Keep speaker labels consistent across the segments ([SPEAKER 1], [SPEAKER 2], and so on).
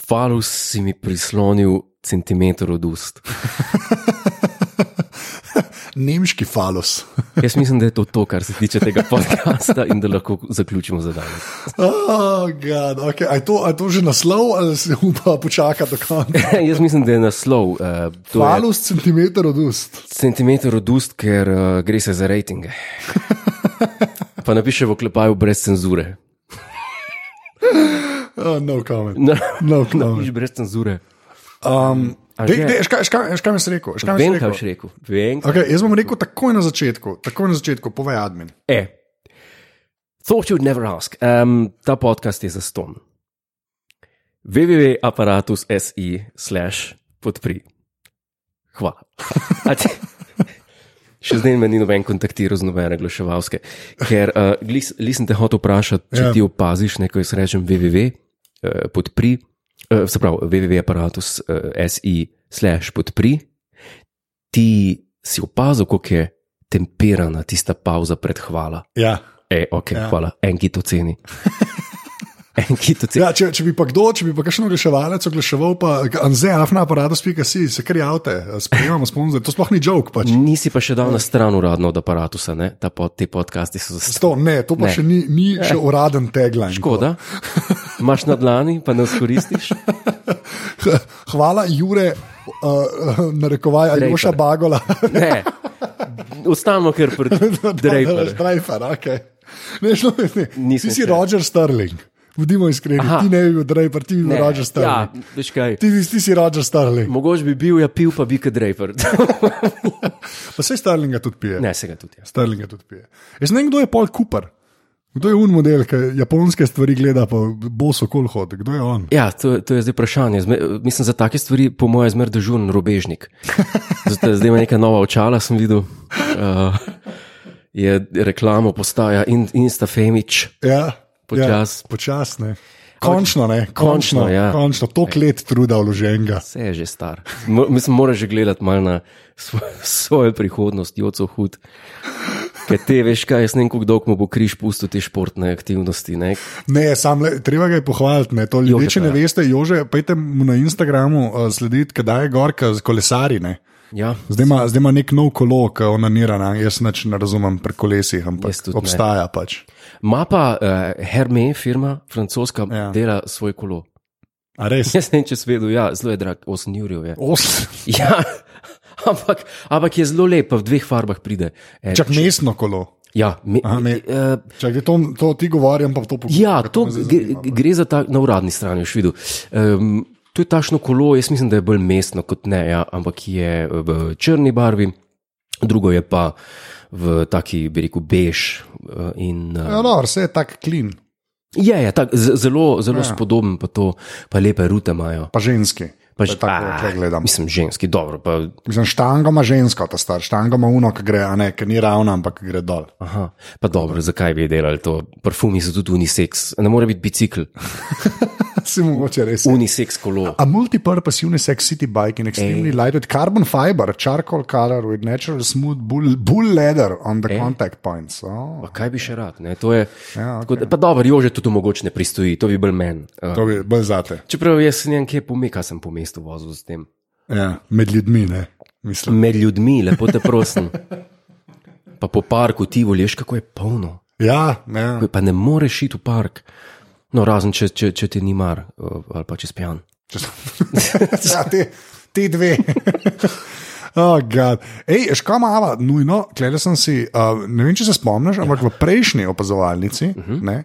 [SPEAKER 1] Falus si mi prislonil centimeter od ust.
[SPEAKER 2] Nemški falos.
[SPEAKER 1] Jaz mislim, da je to to, kar se tiče tega podcasta in da lahko zaključimo za danes.
[SPEAKER 2] Oh, God, okay. A je to, a je to že naslov, ali se upa počakati do konca?
[SPEAKER 1] Jaz mislim, da je naslov. Uh, to je
[SPEAKER 2] Falos centimeter od ust.
[SPEAKER 1] centimeter od ust, ker uh, gre se za rejtinge. Pa napiše v klepaju brez cenzure.
[SPEAKER 2] Oh, no comment.
[SPEAKER 1] Na,
[SPEAKER 2] No comment.
[SPEAKER 1] napiš brez cenzure.
[SPEAKER 2] Um,
[SPEAKER 1] A
[SPEAKER 2] dej,
[SPEAKER 1] že?
[SPEAKER 2] dej, škaj, škaj, škaj mi si rekel? Škaj mi si
[SPEAKER 1] Vem, kaj
[SPEAKER 2] rekel?
[SPEAKER 1] boš rekel. Vem,
[SPEAKER 2] Okay, jaz bom rekel takoj na začetku, takoj na začetku, povej admin.
[SPEAKER 1] E. Thought you'd never ask. Um, ta podcast je za ston. www.apparatus.si slash podpri. Hvala. A ti- Še zdaj me ni noben kontaktiral z nobene oglaševalske, ker uh, nisem te hotel vprašati, če
[SPEAKER 2] Ja.
[SPEAKER 1] yeah. ti opaziš nekaj, jaz rečem www, uh, podpri, uh, se pravi www.apparatus.si uh, SI slash podpri. Ti si opazil, koliko je temperana tista pauza pred hvala.
[SPEAKER 2] Ja.
[SPEAKER 1] E, ok,
[SPEAKER 2] Ja.
[SPEAKER 1] ja. hvala, en ki to ceni. en ki to ceni.
[SPEAKER 2] Ja, če, če bi pa kdo, če bi pa kakšen oglaševalec oglaševal, pa anze, afna aparatus, pika si, se kar javte, sprejemamo sponzorje, to sploh ni joke. Pač.
[SPEAKER 1] Nisi pa še dal na stran uradno od aparata, ta pod, te podcasti so za
[SPEAKER 2] To, ne, to pa ne.
[SPEAKER 1] Ne. Ja.
[SPEAKER 2] še ni, ni še uraden tagline.
[SPEAKER 1] škoda. Imáš na dlani, pa ne skoristiš.
[SPEAKER 2] Hvala, Jure, uh, narekovaj, ali boš
[SPEAKER 1] Draper.
[SPEAKER 2] bagola.
[SPEAKER 1] Ne, ostanemo kar pred drejpom.
[SPEAKER 2] Drejfer, ok. Ne, šlo, ne.
[SPEAKER 1] Nisem
[SPEAKER 2] Ti si
[SPEAKER 1] še.
[SPEAKER 2] Roger Sterling, bodimo iskreni, Aha.
[SPEAKER 1] Aha.
[SPEAKER 2] ti ne bi bil Drejfer, ti bi bil Roger
[SPEAKER 1] Ja,
[SPEAKER 2] Sterling.
[SPEAKER 1] veš kaj.
[SPEAKER 2] Ti, ti si Roger Sterling,
[SPEAKER 1] Mogoče bi bil, ja, pil pa bi kot drejper.
[SPEAKER 2] pa vse Sterlinga tudi pije.
[SPEAKER 1] ne, se ga tudi ja. jaz.
[SPEAKER 2] Sterlinga tudi pije. Jaz ne vem, kdo je Paul Cooper. Kdo je un model, ki japonske stvari gleda, pa boso kol hod, kdo je on?
[SPEAKER 1] Ja, to, to je zdaj vprašanje. Zme, mislim, za take stvari, po mojem, zmer dežuren robežnik. Zato, zdaj ima neka nova očala, sem videl. Uh, je reklamo postaja in, Instafemič.
[SPEAKER 2] Ja,
[SPEAKER 1] Počas.
[SPEAKER 2] Ja, počas ne. Končno, ne, končno,
[SPEAKER 1] Končno,
[SPEAKER 2] končno, ja.
[SPEAKER 1] ja.
[SPEAKER 2] končno to klet truda vloženega.
[SPEAKER 1] Vse je že star. Mo, mislim, moraš že gledati malo na svojo, svojo prihodnost, joco hud. Ker te veš, kaj jaz ne vem, kako dolgo mu bo križ pustil te športne aktivnosti. Ne?
[SPEAKER 2] Ne, sam le, treba ga je pohvaliti. Ne, to ljudje,
[SPEAKER 1] Jožeta,
[SPEAKER 2] če ne
[SPEAKER 1] ja.
[SPEAKER 2] veste, jože, pejte mu na Instagramu uh, slediti, kdaj je gorka z kolesarine.
[SPEAKER 1] Ja,
[SPEAKER 2] Zdaj ima, zdaj ima nek nov kolo, ki je onaniran, jaz nič ne razumem pri kolesih, ampak
[SPEAKER 1] Jaz tudi ne.
[SPEAKER 2] obstaja pač.
[SPEAKER 1] ima pa uh, Hermes, firma francoska,
[SPEAKER 2] Ja.
[SPEAKER 1] ja. dela svoj kolo.
[SPEAKER 2] A res?
[SPEAKER 1] Jaz ne vem, če svedu, ja, zelo je drag, 8 jurjev je.
[SPEAKER 2] Os,
[SPEAKER 1] Ja, ampak, ampak je zelo lep, pa v dveh farbah pride. E,
[SPEAKER 2] čak mestno kolo.
[SPEAKER 1] ja, me,
[SPEAKER 2] Aha, me-
[SPEAKER 1] e,
[SPEAKER 2] Čak, zdaj to, to ti govorim, pa to pokupim.
[SPEAKER 1] ja, to
[SPEAKER 2] no.
[SPEAKER 1] gre, gre za ta na uradni strani, še videl. Um, to je tašno kolo, jaz mislim, da je bolj mestno kot ne, ja, ampak je v črni barvi, drugo je pa v taki, bi rekel, bež. eh, In, eh,
[SPEAKER 2] Ja, no, vse je tako klin,
[SPEAKER 1] je, je tak, z- zelo, zelo ja.
[SPEAKER 2] Ja.
[SPEAKER 1] spodoben, pa to, pa lepe rute imajo.
[SPEAKER 2] pa ženski.
[SPEAKER 1] Pa,
[SPEAKER 2] To je tako,
[SPEAKER 1] a,
[SPEAKER 2] če gledam.
[SPEAKER 1] Mislim, ženski, dobro. Pa,
[SPEAKER 2] Mislim, štango ima žensko, ta star, štango ima uno, ki gre, a ne, ki ni ravna, ampak gre dol.
[SPEAKER 1] Aha, pa dobro, zakaj bi delali to? Parfumi so tudi unisex, ne more biti bicikl,
[SPEAKER 2] Si mogoče res.
[SPEAKER 1] unisex kolo.
[SPEAKER 2] A multipurpose unisex city bike in extremely light with carbon fiber, charcoal color with natural smooth bull, bull leather on the contact points. Oh.
[SPEAKER 1] Pa kaj bi še rad? Ne? To je.
[SPEAKER 2] Ja,
[SPEAKER 1] tako da- Pa dobro, jože tudi mogoče ne pristoji, to bi bil meni. Uh,
[SPEAKER 2] To je bolj zate.
[SPEAKER 1] čeprav jaz se nekje pomika sem po mestu vozil s tem.
[SPEAKER 2] Ja, med ljudmi, ne. Mislim.
[SPEAKER 1] Med ljudmi, lepo te prosim. Pa po parku ti voliš, kako je polno.
[SPEAKER 2] Ja, ja.
[SPEAKER 1] Pa ne moreš iti v park. No, razen če, če, če ti ni mar eh, ali pa če spijan.
[SPEAKER 2] Če so- ja, te, te dve. Oh, God. Ej, škoda mava, nujno, klede sem si, uh, ne vem, če se spomniš, ampak v prejšnji opazovalnici uh -huh. ne,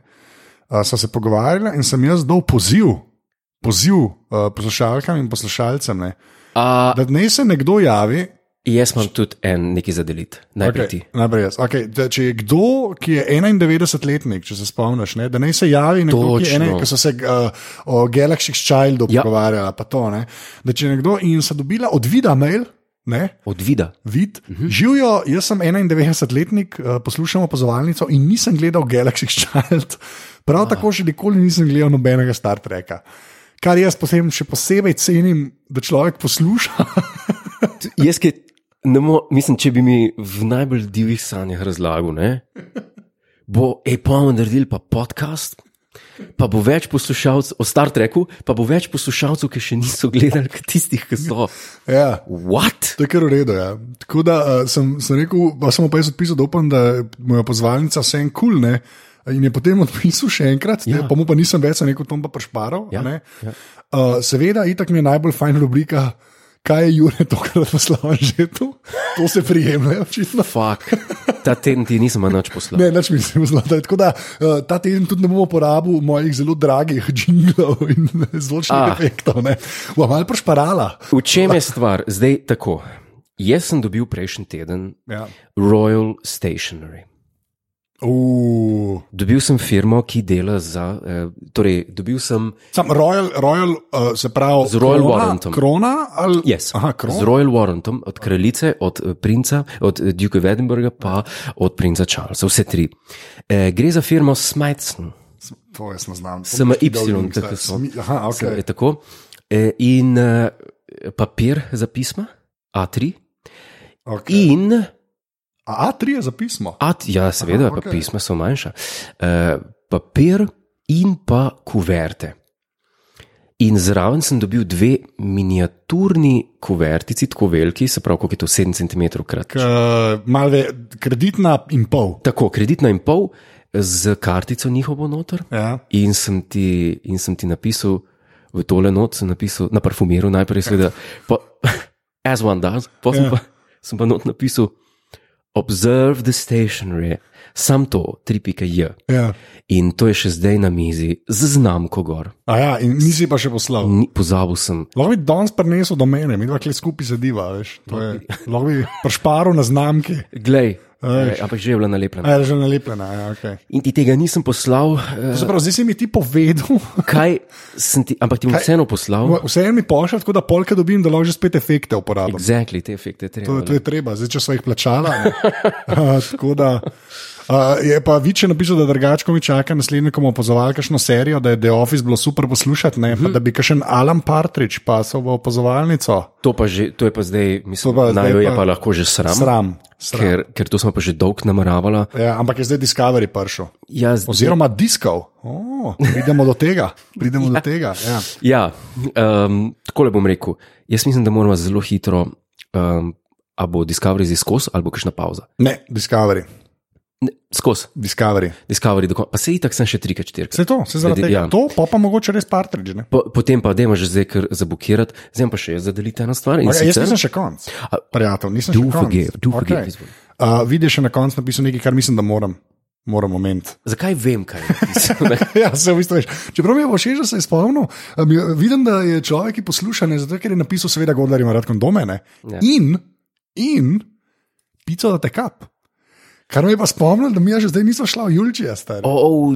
[SPEAKER 2] uh, so se pogovarjali in sem jaz dal poziv, poziv uh, poslušalkam in poslušalcem, ne,
[SPEAKER 1] A,
[SPEAKER 2] da naj se nekdo javi.
[SPEAKER 1] jaz imam tudi en neki zadelit, najprej okay. ti.
[SPEAKER 2] Okay, najprej jaz. Okay, da, če je kdo, ki je 91-letnik, če se spomniš, ne, da naj se javi nekdo, ki, je
[SPEAKER 1] Točno.
[SPEAKER 2] ene, ki so se uh, o Galaxy Childu
[SPEAKER 1] Ja.
[SPEAKER 2] ja. pogovarjali, pa to ne. Da če je nekdo in se dobila od vida mail. Ne,
[SPEAKER 1] Od vida.
[SPEAKER 2] vid, uh
[SPEAKER 1] Mhm.
[SPEAKER 2] -huh. Živijo, jaz sem 91-letnik, uh, poslušam opazovalnico in nisem gledal Galaxy Child. Prav tako še nikoli nisem gledal nobenega Star Treka. Kar jaz potem še posebej cenim, da človek posluša.
[SPEAKER 1] Jaz, ki ne morem, mislim, če bi mi v najbolj divjih sanjah razlagal, ne, bo Apple naredil pa podcast Pa bo več poslušalcev, o Star Treku, pa bo več poslušalcev, ki še niso gledali, kot tistih, ki so.
[SPEAKER 2] Ja.
[SPEAKER 1] What?
[SPEAKER 2] To je kar v redu. Ja. Tako da uh, sem, sem rekel, pa sem mu pa jaz odpisal, da upam, da mu je pozvalnica vse en kul. Cool, ne. In je potem odpisal še enkrat, ja. ne, pa mu pa nisem več rekel, tam pa prešparal.
[SPEAKER 1] Ja,
[SPEAKER 2] a ne.
[SPEAKER 1] ja.
[SPEAKER 2] Uh, seveda, itak mi je najbolj fajn rubrika, kaj je Jure tokrat poslal žetu. To se prijemlja, očitno.
[SPEAKER 1] Fuck. Ta teden ti nisem nič poslal.
[SPEAKER 2] Ne, nič mi se zlata. Tako da uh, ta teden tudi ne bom uporabil mojih zelo dragih jinglov in zvočnih
[SPEAKER 1] Ah.
[SPEAKER 2] ah. efektov. Ne. Ua, malo prešparala.
[SPEAKER 1] V čem je stvar? Zdaj tako. Jaz sem dobil prejšnji teden
[SPEAKER 2] Ja.
[SPEAKER 1] Royal Stationery.
[SPEAKER 2] Uh.
[SPEAKER 1] Dobil sem firmo, ki dela za. Eh, torej, dobil sem
[SPEAKER 2] Sam Royal, Royal uh, se pravi,
[SPEAKER 1] Z Royal
[SPEAKER 2] krona,
[SPEAKER 1] warrantom.
[SPEAKER 2] Krona ali
[SPEAKER 1] Yes.
[SPEAKER 2] Aha,
[SPEAKER 1] Z
[SPEAKER 2] krona.
[SPEAKER 1] Royal Warrantom, od kraljice, od eh, princa, od eh, Duke of Edinburgha, pa od princa Charlesa, vse tri. E, gre za firmo Smithson,
[SPEAKER 2] To jaz ne znam.
[SPEAKER 1] SMY, tako so.
[SPEAKER 2] so. Aha,
[SPEAKER 1] okay.
[SPEAKER 2] ok.
[SPEAKER 1] tako. E, in e, papir za pisma, A3,
[SPEAKER 2] okay.
[SPEAKER 1] in
[SPEAKER 2] A, A3 je za pismo.
[SPEAKER 1] A3, ja, seveda,
[SPEAKER 2] Aha,
[SPEAKER 1] Aha, okay. pa
[SPEAKER 2] okej.
[SPEAKER 1] pisma so manjša. E, papir in pa kuverte. In zraven sem dobil dve miniaturni kuvertici, tako veliki, se pravi, koliko je to 7 cm krat.
[SPEAKER 2] K, malve, kreditna in pol.
[SPEAKER 1] Tako, kreditna in pol, z kartico njihovo noter.
[SPEAKER 2] Ja.
[SPEAKER 1] In sem ti, in sem ti napisal, v tole noč sem napisal, na parfumiru najprej, seveda, pa, as one does, potem
[SPEAKER 2] Ja.
[SPEAKER 1] pa, sem pa not napisal, observe the stationery, sam to, 3.j.
[SPEAKER 2] Ja.
[SPEAKER 1] In to je še zdaj na mizi, z znamko gor.
[SPEAKER 2] A ja, in nisi pa še poslal.
[SPEAKER 1] Ni, pozabil sem,
[SPEAKER 2] Lahko bi danes prenesel do mene, mi dva kle skupaj sediva, veš. To je- Lahko bi prešparil na znamki.
[SPEAKER 1] glej,
[SPEAKER 2] Ej.
[SPEAKER 1] eh, ampak že je bila nalepljena.
[SPEAKER 2] A je že nalepljena, ja, ok.
[SPEAKER 1] In ti tega nisem poslal, eh,
[SPEAKER 2] To se pravi, zdaj si mi ti povedal,
[SPEAKER 1] kaj sem ti, ampak ti bom vseeno poslal.
[SPEAKER 2] vse mi pošlje, tako da polka dobim, da lahko že spet efekte uporabim.
[SPEAKER 1] Exactly, te efekte je
[SPEAKER 2] To,
[SPEAKER 1] treba.
[SPEAKER 2] to je treba, zdaj če so jih plačala. ne. A, Tako da. a, Je pa Viče napisal, da drugačko mi čaka naslednji, ko bomo opazovali kakšno serijo, da je The Office bilo super poslušati, ne, pa da bi kakšen Alan Partridge pasal v opazovalnico.
[SPEAKER 1] To, pa že, to je pa zdaj, mislim,
[SPEAKER 2] To pa
[SPEAKER 1] da
[SPEAKER 2] zdaj
[SPEAKER 1] najo je
[SPEAKER 2] pa-
[SPEAKER 1] pa lahko že sram,
[SPEAKER 2] Sram. sram.
[SPEAKER 1] Ker, ker to smo pa že dolgo nameravala.
[SPEAKER 2] Ja, ampak je zdaj Discovery prišel.
[SPEAKER 1] Ja, z-
[SPEAKER 2] Oziroma diskov. Oh, pridemo do tega. Pridemo ja. do tega. Ja.
[SPEAKER 1] ja um, tako le bom rekel. Jaz mislim, da moramo zelo hitro, um, a bo Discovery zdaj skozi, ali bo kakšna pauza.
[SPEAKER 2] Ne, Discovery.
[SPEAKER 1] Ne, Skozi,
[SPEAKER 2] Discovery.
[SPEAKER 1] Discovery, do kon- pa se itak sem še trikrat,
[SPEAKER 2] Vse
[SPEAKER 1] štirikrat.
[SPEAKER 2] to, vse zaradi
[SPEAKER 1] Zdaj,
[SPEAKER 2] tega.
[SPEAKER 1] ja.
[SPEAKER 2] To pa pa mogoče res Partridge. Ne?
[SPEAKER 1] Po, potem pa, da imaš že zdaj kar zabukirati, zdaj pa še jaz zadelite eno stvar.
[SPEAKER 2] Ja, jaz
[SPEAKER 1] sicer-
[SPEAKER 2] nisem še konc. Prijatelj, nisem
[SPEAKER 1] Do
[SPEAKER 2] še konc.
[SPEAKER 1] forgive, do forgive,
[SPEAKER 2] Okej.
[SPEAKER 1] izvoli.
[SPEAKER 2] Uh, vidiš še na koncu napisal nekaj, kar mislim, da moram. Moram moment.
[SPEAKER 1] Zakaj vem, kaj je? napisano?
[SPEAKER 2] ja, se v bistvu veš. Čeprav mi je všeč, da se je spomnil, um, je- vidim, da je človek, ki posluša, ne zato, ker je napisal, seveda, Godler ima rad kondome. Ne?
[SPEAKER 1] Ja.
[SPEAKER 2] In, in pico da tekap. Kar me je pa spomnil, da mi je že zdaj nismo šla v Julčija, stari.
[SPEAKER 1] Oh,
[SPEAKER 2] Mi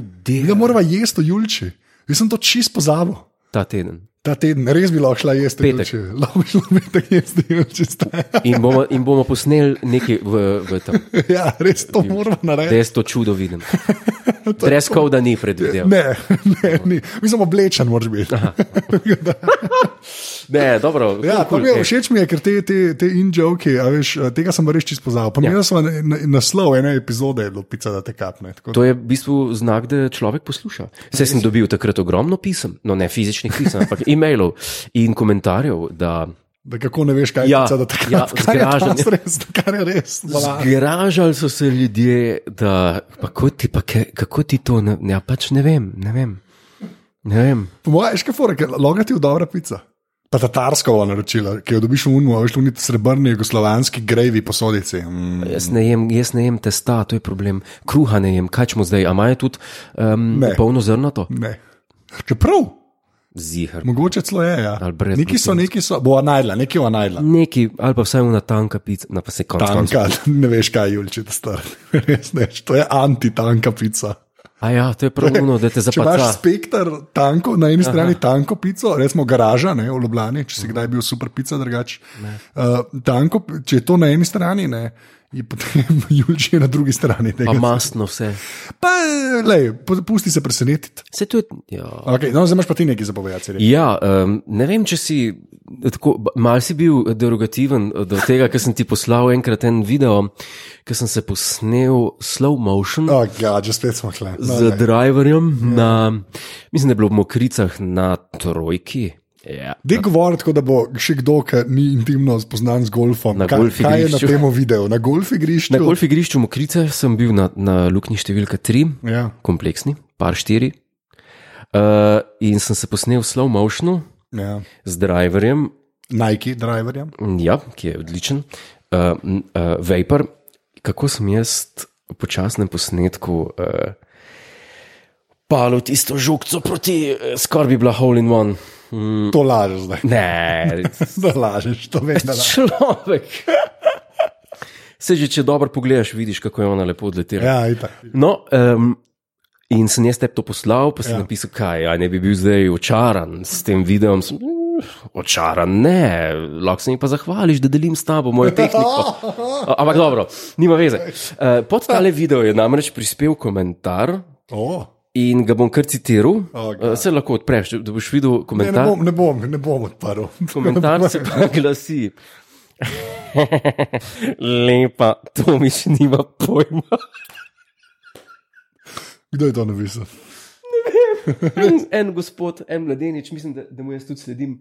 [SPEAKER 1] dear.
[SPEAKER 2] da moramo jesti v Julči. Jaz sem to čist pozabil.
[SPEAKER 1] Ta teden.
[SPEAKER 2] Ta teden res bi lahko šla jesti v
[SPEAKER 1] Petek.
[SPEAKER 2] Julči. Lahko bi šla v petek jesti v Julči. stari.
[SPEAKER 1] In bomo, in bomo posneli nekaj v, v tem.
[SPEAKER 2] ja, res to moramo
[SPEAKER 1] da
[SPEAKER 2] narediti.
[SPEAKER 1] jaz to čudo vidim. Brez koda ni predvideval.
[SPEAKER 2] Ne, ne, ni. Mi smo oblečeni, moraš biti.
[SPEAKER 1] Ne, dobro.
[SPEAKER 2] Ja,
[SPEAKER 1] cool,
[SPEAKER 2] cool,
[SPEAKER 1] cool,
[SPEAKER 2] je,
[SPEAKER 1] ej.
[SPEAKER 2] všeč mi je, ker te, te, te in-joke, tega sem pa res čist pozabil. Pomenil ja. sem na, na, naslov ene epizode, je bilo pica, da te kapne.
[SPEAKER 1] To je v bistvu znak, da človek posluša. Vse sem dobil takrat ogromno pisem, no ne fizičnih pisem, ampak e-mailov in komentarjev, da
[SPEAKER 2] Da kako ne veš, kaj je
[SPEAKER 1] Ja,
[SPEAKER 2] pica, da te kapne.
[SPEAKER 1] ja,
[SPEAKER 2] Ja, kar je
[SPEAKER 1] zgražanje.
[SPEAKER 2] to res, kar je res. bala.
[SPEAKER 1] zgražali so se ljudje, da kako ti, pa, ke- kako ti to, ne, ja, pač ne vem, ne vem. Ne vem.
[SPEAKER 2] Po mojem, še fore, ker loga ti je dobra pica. Pa tatarsko bo naročila, ki jo dobiš v unmu, a veš, v uniti srebrni jugoslovanski grevi posodici. Mm.
[SPEAKER 1] Jaz ne jem, jaz ne jem testa, to je problem. Kruha ne jem, kaj čemo zdaj, a imajo tudi um,
[SPEAKER 2] Ne.
[SPEAKER 1] polno zrnato?
[SPEAKER 2] Ne. Čeprav,
[SPEAKER 1] Zihar.
[SPEAKER 2] mogoče celo je. Ja.
[SPEAKER 1] Ali brez
[SPEAKER 2] Neki so, neki so, bo najdla, neki bo najdla.
[SPEAKER 1] Neki, ali pa vsaj ena tanka pica, na pa se konc koncev.
[SPEAKER 2] Tanka, ne veš, kaj je Julčita star. Res ne, to je antitanka pica.
[SPEAKER 1] A ja, to je pravno, da te
[SPEAKER 2] Če imaš
[SPEAKER 1] zapaca.
[SPEAKER 2] spektr tanko, na eni strani Aha. tanko pico, recimo garaža ne, v Ljubljani, če si kdaj bil super pica, drugače. Uh, tanko, če je to na eni strani, ne, je potem Julči je na drugi strani.
[SPEAKER 1] Pa
[SPEAKER 2] Tega.
[SPEAKER 1] masno vse.
[SPEAKER 2] Pa, lej, po- pusti se presenetiti.
[SPEAKER 1] Se to je. Ja,
[SPEAKER 2] Okay, no, zdaj imaš pa ti nekaj zapovedati.
[SPEAKER 1] ja um, ne vem, če si tako, mal si bil derogativen eh, do tega, ker sem ti poslal enkrat en video, ker sem se posnel slow motion
[SPEAKER 2] Oh, God, že spet smo hle. No,
[SPEAKER 1] z
[SPEAKER 2] daj.
[SPEAKER 1] driverjem na, mislim, da je bilo v Mokricah na Trojki. Ja.
[SPEAKER 2] Dej govori tako, da bo še kdo, ki ni intimno spoznan z golfom.
[SPEAKER 1] Na
[SPEAKER 2] kaj,
[SPEAKER 1] golf
[SPEAKER 2] kaj je na
[SPEAKER 1] igrišču.
[SPEAKER 2] tem videu? Na golf igrišču.
[SPEAKER 1] Na golf igrišču Mokrice sem bil na, na luknji številka 3.
[SPEAKER 2] Ja.
[SPEAKER 1] kompleksni, par štiri. Uh, in sem se posnel v slow motionu
[SPEAKER 2] Ja.
[SPEAKER 1] z driverjem,
[SPEAKER 2] Nike driverjem.
[SPEAKER 1] ja, ki je odličen, uh, uh, Vapor, kako sem jaz po časnem posnetku uh, palil tisto žogico proti, eh, skoraj bi bila hole in one. Mm,
[SPEAKER 2] To lažeš zdaj.
[SPEAKER 1] ne,
[SPEAKER 2] Da lažeš, to veš, da lažeš.
[SPEAKER 1] človek. Se že, če dobro pogledaš, vidiš, kako je ona lepo odletela.
[SPEAKER 2] Ja, itak.
[SPEAKER 1] No, um, in sem jaz tebi to poslal, pa sem ja. napisal, kaj, a ne bi bil zdaj očaran s tem videom. Sem, "Mm, očaran, ne, lahko se mi pa zahvališ, da delim s tabo mojo tehniko. A- Ampak dobro, nima veze. Uh, pod tale video je namreč prispel komentar.
[SPEAKER 2] Oh.
[SPEAKER 1] In ga bom kar citiral,
[SPEAKER 2] Okej.
[SPEAKER 1] okay. se lahko odpreš, da boš videl
[SPEAKER 2] Ne, ne,
[SPEAKER 1] komentar.
[SPEAKER 2] bom, ne, bom, ne bom odprl.
[SPEAKER 1] Komentar se pa glasi. Lepa, to miš nima pojma.
[SPEAKER 2] Kdo je to napisal?
[SPEAKER 1] en, en gospod, en mladenič, mislim, da, da mu jaz tudi sledim.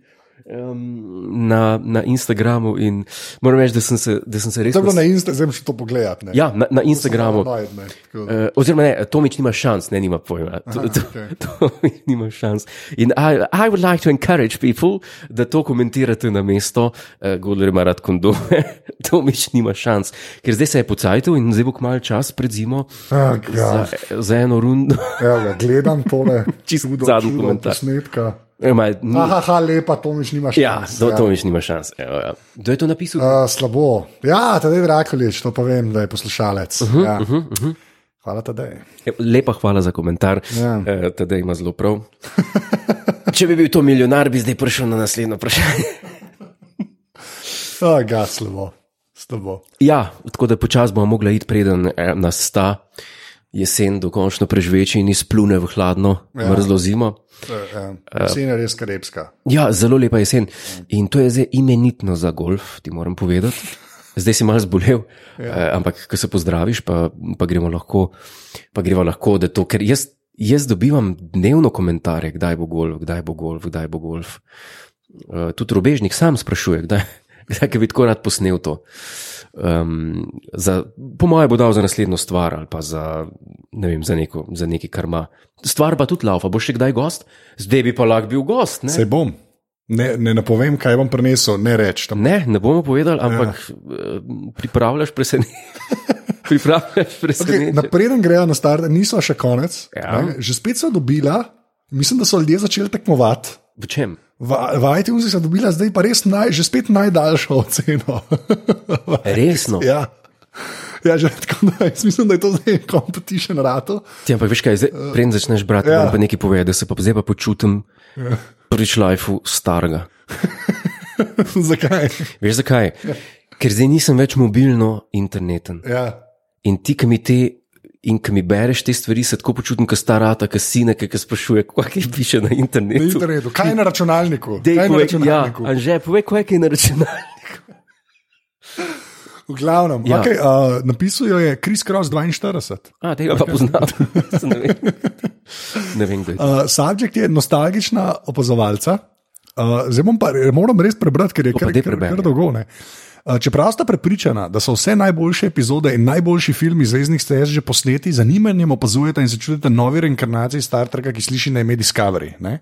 [SPEAKER 1] Um, na, na Instagramu in moram reči, da sem se, da sem se res.
[SPEAKER 2] To je bilo na Instagramu, zdaj moraš to pogledati. ne.
[SPEAKER 1] Ja, na, na Instagramu.
[SPEAKER 2] To je najbolj, ne, tako da.
[SPEAKER 1] Uh, oziroma, ne, Tomič nima šans, ne nima pojma. To- to-
[SPEAKER 2] okej.
[SPEAKER 1] Tomič nima šans. In I, I would like to encourage people, da to komentirate na mesto, uh, Godler ima rad kondome, Tomič nima šans. Ker zdaj se je pocajtil in zdaj bo kmalu čas pred zimo
[SPEAKER 2] Ah,
[SPEAKER 1] za,
[SPEAKER 2] ja.
[SPEAKER 1] za eno rundo.
[SPEAKER 2] Evo ga, gledam tole,
[SPEAKER 1] Čisto
[SPEAKER 2] čudo,
[SPEAKER 1] zadnji
[SPEAKER 2] čudo
[SPEAKER 1] komentar.
[SPEAKER 2] Posnetka.
[SPEAKER 1] Ema, ni-
[SPEAKER 2] Aha, lepa, to miš nimaš.
[SPEAKER 1] Ja,
[SPEAKER 2] šans,
[SPEAKER 1] to, to miš nima šans. Evo, ja. Kdo je to napisal? Uh,
[SPEAKER 2] A, slabo. Ja, tedej Rakolič, to pa vem, da je poslušalec.
[SPEAKER 1] Mhm,
[SPEAKER 2] Uh -huh, ja. uh -huh, uh -huh. Hvala, tedej.
[SPEAKER 1] Lepa hvala za komentar,
[SPEAKER 2] Ja.
[SPEAKER 1] ja. uh, tedaj ima zelo prav. Če bi bil to milijonar, bi zdaj prišel na naslednje vprašanje.
[SPEAKER 2] Oh, ga, slabo. slabo.
[SPEAKER 1] Ja, tako da počasi bomo mogli iti, preden eh, nas ta jesen dokončno preživeči in izplune v hladno, ja. mrzlo zimo.
[SPEAKER 2] ja.
[SPEAKER 1] Eh.
[SPEAKER 2] Cena je res karibska.
[SPEAKER 1] Ja, zelo lepa jesen. In to je zdaj imenitno za golf, ti moram povedati. Zdaj si malo zbolel, ja. eh, ampak ko se pozdraviš, pa, pa gremo lahko, pa gremo lahko, da to, ker jaz, jaz dobivam dnevno komentarje, kdaj bo golf, kdaj bo golf, kdaj bo golf. Eh, tudi robežnik sam sprašuje, kdaj, kdaj ker bi tako rad posnel to. Um, za, po mojem bo dal za naslednjo stvar ali pa za, ne vem, za, neko, za nekaj, kar ima. Stvar pa tudi laufa, bo še kdaj gost, zdaj bi pa lahko bil gost. Ne?
[SPEAKER 2] Se bom. Ne, ne napovem, kaj bom prinesel, ne reč. tam.
[SPEAKER 1] Ne, ne bomo povedali, ampak ja. pripravljaš presenečenje. pripravljaš
[SPEAKER 2] Okay,
[SPEAKER 1] presenečenje.
[SPEAKER 2] Napreden grejo na start, niso še konec.
[SPEAKER 1] Hm. Ja.
[SPEAKER 2] ne. Že spet so dobila, mislim, da so ljudje začeli tekmovati.
[SPEAKER 1] V čem?
[SPEAKER 2] V, v iTunesih sem dobila zdaj pa res naj, že spet najdaljšo oceno.
[SPEAKER 1] Resno. Ja.
[SPEAKER 2] ja. ja, že tako da jaz mislim, da je to zdaj competition rato.
[SPEAKER 1] Ti, ampak veš kaj, zdaj, preden začneš brati,
[SPEAKER 2] Ja.
[SPEAKER 1] Eh, ja. pa nekaj povedi, da se pa zdaj pa počutim ja. pri človeku starega.
[SPEAKER 2] Zakaj?
[SPEAKER 1] Veš zakaj? Ja. Ker zdaj nisem več mobilno interneten.
[SPEAKER 2] Ja.
[SPEAKER 1] In ti, ki mi te. In ki mi bereš te stvari, se tako počutim, kot starata, kot sine, ki sprašuje, kaj piše na
[SPEAKER 2] Na
[SPEAKER 1] internetu.
[SPEAKER 2] internetu. Kaj je na računalniku?
[SPEAKER 1] Dej,
[SPEAKER 2] kaj je na
[SPEAKER 1] povej, ja,
[SPEAKER 2] računalniku?
[SPEAKER 1] Anže, povej, kaj je na računalniku.
[SPEAKER 2] V glavnem. Ja.
[SPEAKER 1] Ja.
[SPEAKER 2] Okay, uh, napisal jo je Chris Cross 42.
[SPEAKER 1] A, tega Ja, pa poznam. ne vem, ne vem kdo je to.
[SPEAKER 2] Uh, subjekt je nostalgična opazovalca. Uh, zdaj bom pa, moram res prebrati, ker je
[SPEAKER 1] pa ja.
[SPEAKER 2] kar,
[SPEAKER 1] daj
[SPEAKER 2] kar,
[SPEAKER 1] preberi.
[SPEAKER 2] kar dolgo. Ne? Uh, Čeprav sta prepričana, da so vse najboljše epizode in najboljši filmi zvezdnih stez že posneti, z zanimanjem opazujete in se čudite novi reinkarnaciji Star Treka, ki sliši na ime Discovery. Ne?